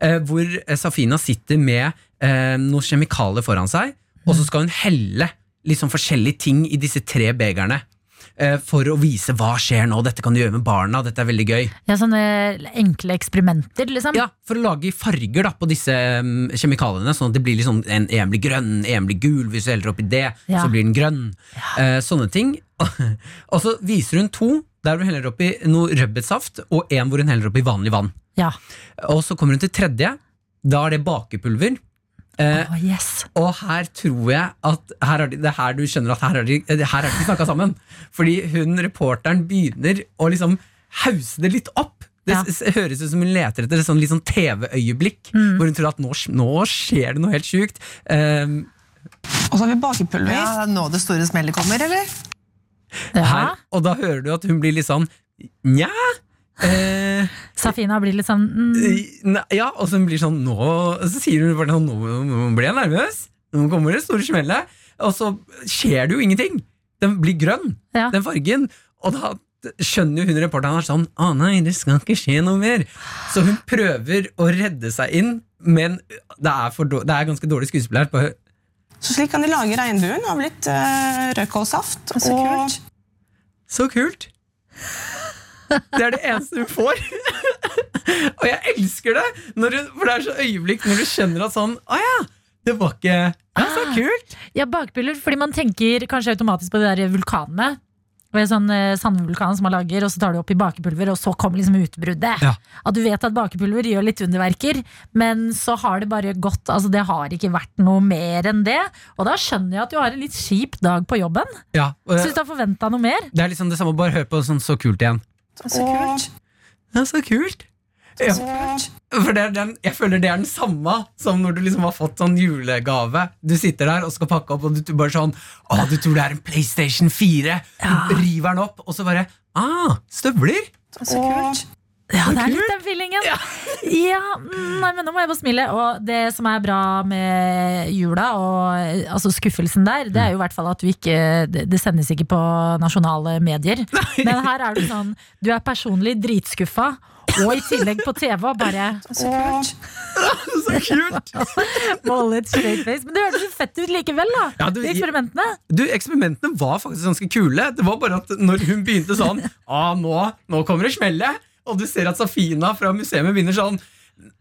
[SPEAKER 4] eh, hvor eh, Safina sitter med eh, noen kjemikalier foran seg, og så skal hun helle litt sånn forskjellige ting i disse tre begerne. eh, For å vise hva skjer nå, dette kan du gjøre med barna, dette er veldig gøy.
[SPEAKER 3] Ja, sånne enkle eksperimenter, liksom.
[SPEAKER 4] Ja, for å lage farger da, på disse mm, kjemikaliene, sånn at det blir litt sånn en, en blir grønn, en blir gul, hvis du heller oppi det,
[SPEAKER 3] Ja.
[SPEAKER 4] så blir den grønn. Eh, sånne ting. og så viser hun to der hun heller oppi noe rødbetsaft, og en hvor hun heller oppi vanlig vann.
[SPEAKER 3] Ja.
[SPEAKER 4] Og så kommer hun til tredje. Da er det bakepulver. Eh,
[SPEAKER 3] Å, yes.
[SPEAKER 4] og her tror jeg at her er de, Det er her du skjønner at her har de, eh, her har de ikke snakka sammen. Fordi hun, reporteren, begynner å liksom hause det litt opp. Det
[SPEAKER 3] Ja.
[SPEAKER 4] s- s- høres ut som hun leter etter et sånn, litt sånn TV-øyeblikk. Hvor hun tror at nå, sk- nå skjer det noe helt sjukt. Ehm,
[SPEAKER 11] Og så har vi bakepulver.
[SPEAKER 8] Ja, det er nå det store smellet kommer, eller?
[SPEAKER 3] Ja.
[SPEAKER 4] her, og da hører du at hun blir litt sånn Nja? eh,
[SPEAKER 3] Safina blir litt sånn mm,
[SPEAKER 4] i- ne- Eh, ja, og så hun blir sånn nå, og Så sier hun bare sånn nå, nå blir jeg nervøs. Nå kommer det store smellet. Og så skjer det jo ingenting. Den blir grønn.
[SPEAKER 3] ja.
[SPEAKER 4] den fargen. Og da skjønner jo hun reporteren er sånn Å nei, det skal ikke skje noe mer. Så hun prøver å redde seg inn, men det er, for dår- det er ganske dårlig skuespill her. På,
[SPEAKER 11] Så slik kan de lage regnbuen av litt uh, rødkålsaft.
[SPEAKER 8] Så
[SPEAKER 11] og-
[SPEAKER 8] kult.
[SPEAKER 4] så kult! Det er det eneste hun får. og jeg elsker det! Når hun, for det er så øyeblikk når du skjønner at sånn Å ja, det var ikke ja, Så kult!
[SPEAKER 3] Ja, bakpiller, fordi man tenker kanskje automatisk på de der vulkanene. Og en sånn eh, sandvulkan som man lager, og så tar du opp i bakepulver, og så kommer liksom utbruddet.
[SPEAKER 4] Ja.
[SPEAKER 3] At du vet at bakepulver gjør litt underverker, men så har det bare gått Altså, det har ikke vært noe mer enn det. Og da skjønner jeg at du har en litt kjip dag på jobben.
[SPEAKER 4] Ja, og
[SPEAKER 3] Syns du har forventa noe mer?
[SPEAKER 4] det er liksom det samme, bare hør på sånn så kult igjen.
[SPEAKER 8] Så kult.
[SPEAKER 4] Ja, så kult! Ja. For det er den, jeg føler det er den samme som når du liksom har fått sånn julegave. Du sitter der og skal pakke opp, og du bare sånn Å, du tror det er en PlayStation 4! Du river den opp, og så bare Ah, støvler!
[SPEAKER 8] Så kult.
[SPEAKER 3] Ja, det er
[SPEAKER 4] kult.
[SPEAKER 3] litt den feelingen. Ja. mm, nei, men nå må jeg bare smile. Og det som er bra med jula, og eh, altså skuffelsen der, det er jo i hvert fall at du ikke Det det sendes ikke på nasjonale medier. Men her er du sånn Du er personlig dritskuffa, og i tillegg på TV og bare
[SPEAKER 8] Så kult.
[SPEAKER 4] Så kult!
[SPEAKER 3] måle et straight face. Men det hørtes jo fett ut likevel, da.
[SPEAKER 4] Ja, du-
[SPEAKER 3] de eksperimentene.
[SPEAKER 4] Du, Eksperimentene var faktisk ganske kule. Det var bare at når hun begynte sånn ah, nå, nå kommer det smelle! Og du ser at Safina fra museet begynner sånn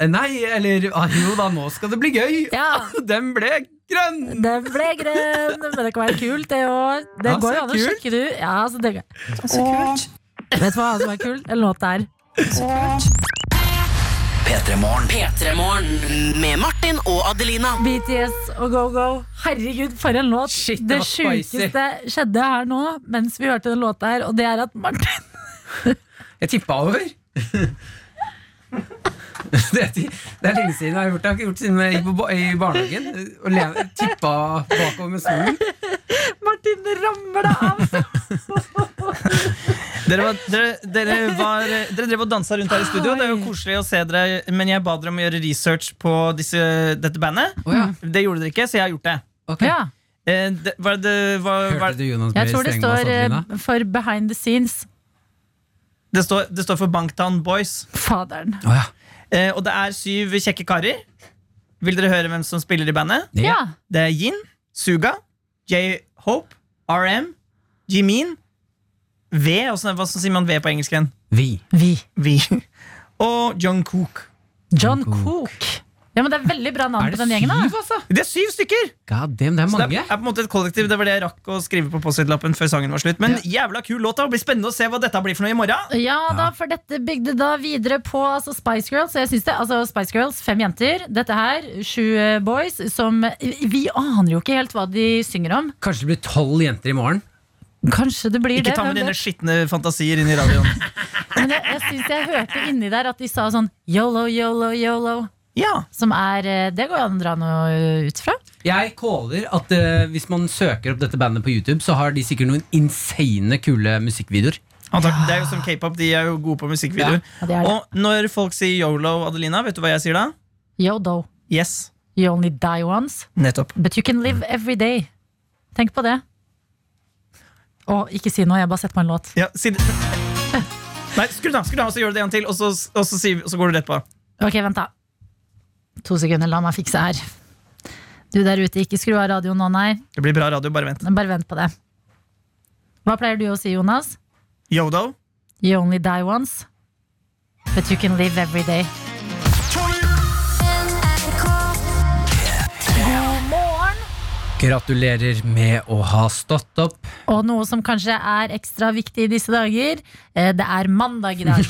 [SPEAKER 4] Nei, eller ah, jo da, nå skal det bli gøy!
[SPEAKER 3] Ja.
[SPEAKER 4] Den ble grønn!
[SPEAKER 3] Den ble grønn, men det kan være kult, det òg. Det
[SPEAKER 4] Ja,
[SPEAKER 3] går
[SPEAKER 4] så
[SPEAKER 3] jo an å
[SPEAKER 4] kult.
[SPEAKER 3] sjekke, du. Ja, så det, vet
[SPEAKER 8] Så kult.
[SPEAKER 3] du hva som er kult? En låt der.
[SPEAKER 8] Så kult.
[SPEAKER 2] P3morgen med Martin og Adelina.
[SPEAKER 3] BTS og Go Go. Herregud, for en låt!
[SPEAKER 4] Shit, det
[SPEAKER 3] det
[SPEAKER 4] var spicy.
[SPEAKER 3] sjukeste skjedde her nå mens vi hørte den låta her, og det er at Martin
[SPEAKER 4] Jeg tippa over. Det er, ti- det er lenge siden jeg har gjort det. Jeg har ikke gjort det siden jeg gikk på, ba- i barnehagen. Og le- tippa bakover med stolen.
[SPEAKER 3] Martin rammer deg av!
[SPEAKER 5] Dere, var, dere, dere, var, eh, dere drev og dansa rundt her i studio. Det er jo koselig å se dere, men jeg ba dere om å gjøre research på disse, dette bandet. Det gjorde dere ikke, så jeg har gjort det.
[SPEAKER 3] Ja,
[SPEAKER 5] Eh, det, hva er det, hva, hva,
[SPEAKER 4] Hørte du Jonas
[SPEAKER 3] jeg
[SPEAKER 4] Bøe
[SPEAKER 3] tror det
[SPEAKER 4] Stengvass,
[SPEAKER 3] står eh,
[SPEAKER 4] Adelina?
[SPEAKER 3] for behind the scenes.
[SPEAKER 5] det, står, det står for Banktown Boys.
[SPEAKER 3] Faderen.
[SPEAKER 4] Å ja.
[SPEAKER 5] Eh, og det er syv kjekke karer. Vil dere høre hvem som spiller i bandet?
[SPEAKER 3] Ja.
[SPEAKER 5] Det er Yin, Suga, J-Hope, RM, Jimin, V hvordan- Hva sier man V på engelsk igjen?
[SPEAKER 4] Vi.
[SPEAKER 3] Vi.
[SPEAKER 5] Vi. Og Jungkook.
[SPEAKER 3] John Cook. Ja, men det er veldig bra navn
[SPEAKER 4] Er
[SPEAKER 3] på
[SPEAKER 4] det
[SPEAKER 3] den gjengen. da
[SPEAKER 4] syv, altså?
[SPEAKER 5] Det er syv stykker!
[SPEAKER 4] God damn, det er
[SPEAKER 5] Så
[SPEAKER 4] mange.
[SPEAKER 5] det er, er på en måte et kollektiv, det var det jeg rakk å skrive på Post-It-lappen før sangen var slutt. Men jævla kul låt. da. Det blir spennende å se hva dette blir for noe i morgen.
[SPEAKER 3] Ja da, for dette bygde da videre på altså Spice Girls. Jeg synes det, altså Spice Girls, Fem jenter, dette her, sju eh, boys, som Vi aner jo ikke helt hva de synger om.
[SPEAKER 4] Kanskje det blir tolv jenter i morgen.
[SPEAKER 3] Kanskje det blir
[SPEAKER 5] Ikke
[SPEAKER 3] det.
[SPEAKER 5] ta med
[SPEAKER 3] hvem
[SPEAKER 5] dine
[SPEAKER 3] vet?
[SPEAKER 5] skitne fantasier inn i radioen.
[SPEAKER 3] Men jeg, jeg syns jeg hørte inni der at de sa sånn yolo, yolo, yolo.
[SPEAKER 5] Ja,
[SPEAKER 3] Som er eh, Det går jo an å dra noe ut fra.
[SPEAKER 4] Jeg caller at eh, hvis man søker opp dette bandet på YouTube, så har de sikkert noen insane kule musikkvideoer.
[SPEAKER 5] antak- Det er jo som k-pop. De er jo gode på musikkvideoer.
[SPEAKER 3] Ja, det er det.
[SPEAKER 5] Og når folk sier yolo, Adelina, vet du hva jeg sier da?
[SPEAKER 3] Yodo.
[SPEAKER 5] Yes.
[SPEAKER 3] You only die once,
[SPEAKER 5] Nettopp.
[SPEAKER 3] but you can live every day. Tenk på det. Å, ikke si noe, jeg har bare sett på en låt.
[SPEAKER 5] Ja, si det. Nei, skru den av, skru den av, så gjør du det en til, og så, og så, sier, vi- og så går du rett på.
[SPEAKER 3] Ok, vent da To sekunder, la meg fikse her Du der ute, ikke skru av radioen nå, nei
[SPEAKER 5] Det blir bra radio, bare vent.
[SPEAKER 3] Bare vent på det Hva pleier du å si, Jonas?
[SPEAKER 5] Yodo.
[SPEAKER 3] You only die once But you can live every day God morgen
[SPEAKER 4] Gratulerer med å ha stått opp.
[SPEAKER 3] Og noe som kanskje er ekstra viktig i disse dager eh, Det er mandag i dag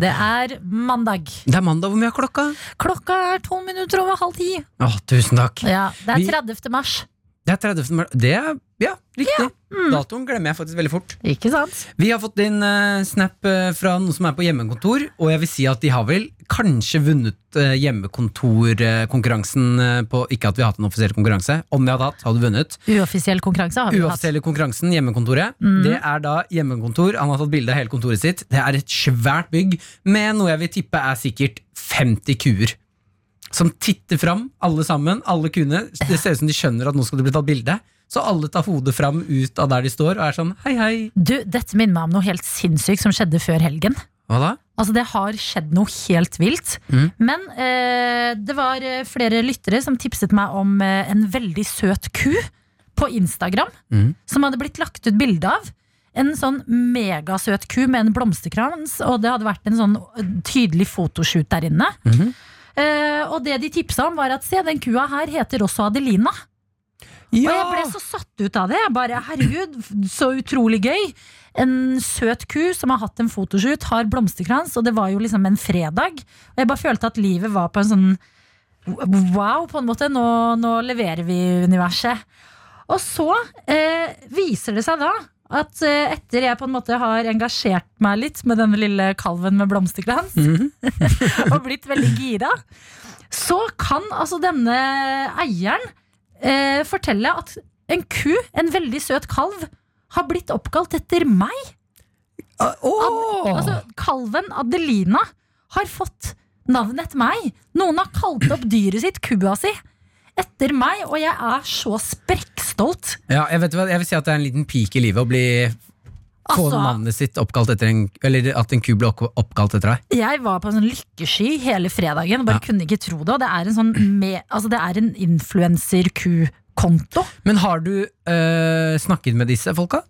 [SPEAKER 3] Det er mandag
[SPEAKER 4] Det er mandag. Hvor mye er klokka?
[SPEAKER 3] Klokka er tolv minutter over halv ti
[SPEAKER 4] Å, tusen takk.
[SPEAKER 3] ja, Det
[SPEAKER 4] Vi-
[SPEAKER 3] er 30. mars
[SPEAKER 4] Det er 30. mars. Det er ja, riktig. Datoen glemmer jeg faktisk veldig fort.
[SPEAKER 3] Ikke sant?
[SPEAKER 4] Vi har fått inn eh, snap eh, fra noen som er på hjemmekontor, og jeg vil si at de har vel kanskje vunnet eh, hjemmekontorkonkurransen eh, på Ikke at vi har hatt en offisiell konkurranse. Om vi hadde hatt, hadde vi vunnet.
[SPEAKER 3] Uoffisiell konkurranse har vi hatt
[SPEAKER 4] Uoffisielle konkurransen, hjemmekontoret.
[SPEAKER 3] Mm.
[SPEAKER 4] Det er da hjemmekontor. Han har tatt bilde av hele kontoret sitt. Det er et svært bygg med noe jeg vil tippe er sikkert 50 kuer. Som titter fram, alle sammen. Alle kuene. Det ser ut som de skjønner at nå skal det bli tatt bilde. Så alle tar hodet fram ut av der de står og er sånn hei, hei.
[SPEAKER 3] Du, dette minner meg om noe helt sinnssykt som skjedde før helgen.
[SPEAKER 4] Hva da?
[SPEAKER 3] Altså Det har skjedd noe helt vilt.
[SPEAKER 4] Mm.
[SPEAKER 3] Men eh, det var eh, flere lyttere som tipset meg om eh, en veldig søt ku på Instagram.
[SPEAKER 4] Mm.
[SPEAKER 3] Som hadde blitt lagt ut bilde av. En sånn megasøt ku med en blomsterkrans, og det hadde vært en sånn tydelig fotoshoot der inne.
[SPEAKER 4] Mhm.
[SPEAKER 3] Eh, og det de tipsa om, var at se, den kua her heter også Adelina. Og jeg ble så satt ut av det. Jeg bare, herregud, f- så utrolig gøy. En søt ku som har hatt en fotoshoot, har blomsterkrans, og det var jo liksom en fredag. Og jeg bare følte at livet var på en sånn wow, på en måte. Nå, nå leverer vi universet. Og så eh, viser det seg da at eh, etter jeg på en måte har engasjert meg litt med denne lille kalven med blomsterkrans, og blitt veldig gira, så kan altså denne eieren eh, fortelle at en ku, en veldig søt kalv, har blitt oppkalt etter meg. Ad, Ah,
[SPEAKER 4] Ah,
[SPEAKER 3] altså, kalven Adelina har fått navnet etter meg. Noen har kalt opp dyret sitt, kua si, etter meg, og jeg er så sprekkstolt.
[SPEAKER 4] Ja, jeg, vet hva, jeg vil si at det er en liten peak i livet å bli få
[SPEAKER 3] Altså-
[SPEAKER 4] navnet sitt oppkalt etter en Eller at en ku ble opp- oppkalt etter deg.
[SPEAKER 3] Jeg var på en sånn lykkesky hele fredagen og bare kunne ikke tro det. Og det er en sånn med, altså det er en influenser-ku-konto
[SPEAKER 4] Men har du øh, snakket med disse folka?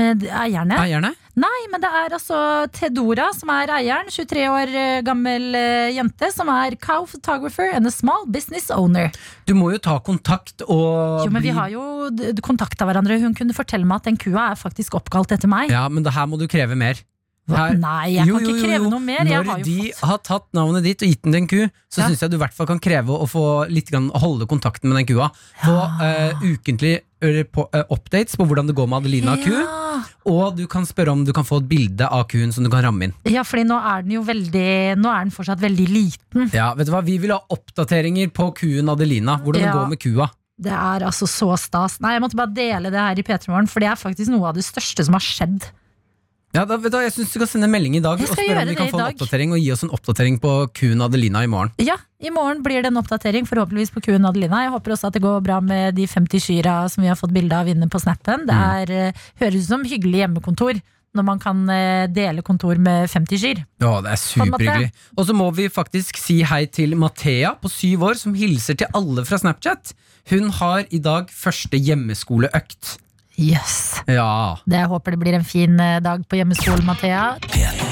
[SPEAKER 3] med eierne.
[SPEAKER 4] Eierne?
[SPEAKER 3] Nei, men det er altså Tedora som er eieren, 23 år eh, gammel eh, jente, som er cow photographer and a small business owner.
[SPEAKER 4] Du må jo ta kontakt og
[SPEAKER 3] Jo, men vi
[SPEAKER 4] bli-
[SPEAKER 3] har jo kontakta hverandre. Hun kunne fortelle meg at den kua er faktisk oppkalt etter meg.
[SPEAKER 4] Ja, men det her må du kreve mer. Her-
[SPEAKER 3] Nei, jeg
[SPEAKER 4] Jo,
[SPEAKER 3] kan
[SPEAKER 4] jo,
[SPEAKER 3] ikke
[SPEAKER 4] jo,
[SPEAKER 3] kreve
[SPEAKER 4] jo.
[SPEAKER 3] noe mer. Jeg
[SPEAKER 4] Når
[SPEAKER 3] har jo
[SPEAKER 4] de
[SPEAKER 3] fått
[SPEAKER 4] har tatt navnet ditt og gitt den til en ku, så
[SPEAKER 3] Ja.
[SPEAKER 4] synes syns jeg du i hvert fall kan kreve å få litt grann, holde kontakten med den kua. Få eh, ukentlig eh, på, eh, updates på hvordan det går med Adelina og ku.
[SPEAKER 3] ja.
[SPEAKER 4] Og du kan spørre om du kan få et bilde av kuen som du kan ramme inn.
[SPEAKER 3] ja, fordi nå er den jo veldig Nå er den fortsatt veldig liten.
[SPEAKER 4] Ja, vet du hva? Vi vil ha oppdateringer på kuen Adelina. Hvordan det
[SPEAKER 3] Ja.
[SPEAKER 4] går med kua.
[SPEAKER 3] Det er altså så stas. Nei, jeg måtte bare dele det her i P3 Morgen, for det er faktisk noe av det største som har skjedd.
[SPEAKER 4] Ja, da, vet du, hva, jeg syns du skal sende en melding i dag
[SPEAKER 3] Jeg
[SPEAKER 4] og
[SPEAKER 3] skal
[SPEAKER 4] spørre
[SPEAKER 3] gjøre
[SPEAKER 4] om vi
[SPEAKER 3] det
[SPEAKER 4] kan
[SPEAKER 3] i
[SPEAKER 4] få en
[SPEAKER 3] dag.
[SPEAKER 4] oppdatering og gi oss en oppdatering på kuen Adelina i morgen.
[SPEAKER 3] Ja, i morgen blir det en oppdatering, forhåpentligvis på kuen Adelina. Jeg håper også at det går bra med de 50 kyra som vi har fått bilde av inne på snappen. Det er, eh, høres ut som hyggelig hjemmekontor når man kan eh, dele kontor med 50 kyr.
[SPEAKER 4] Ja, det er superhyggelig. Og så må vi faktisk si hei til Mathea på syv år, som hilser til alle fra Snapchat. Hun har i dag første hjemmeskoleøkt.
[SPEAKER 3] Yes.
[SPEAKER 4] Ja.
[SPEAKER 3] Det, jeg håper det blir en fin eh, dag på hjemmeskolen, Mathea.
[SPEAKER 1] P3.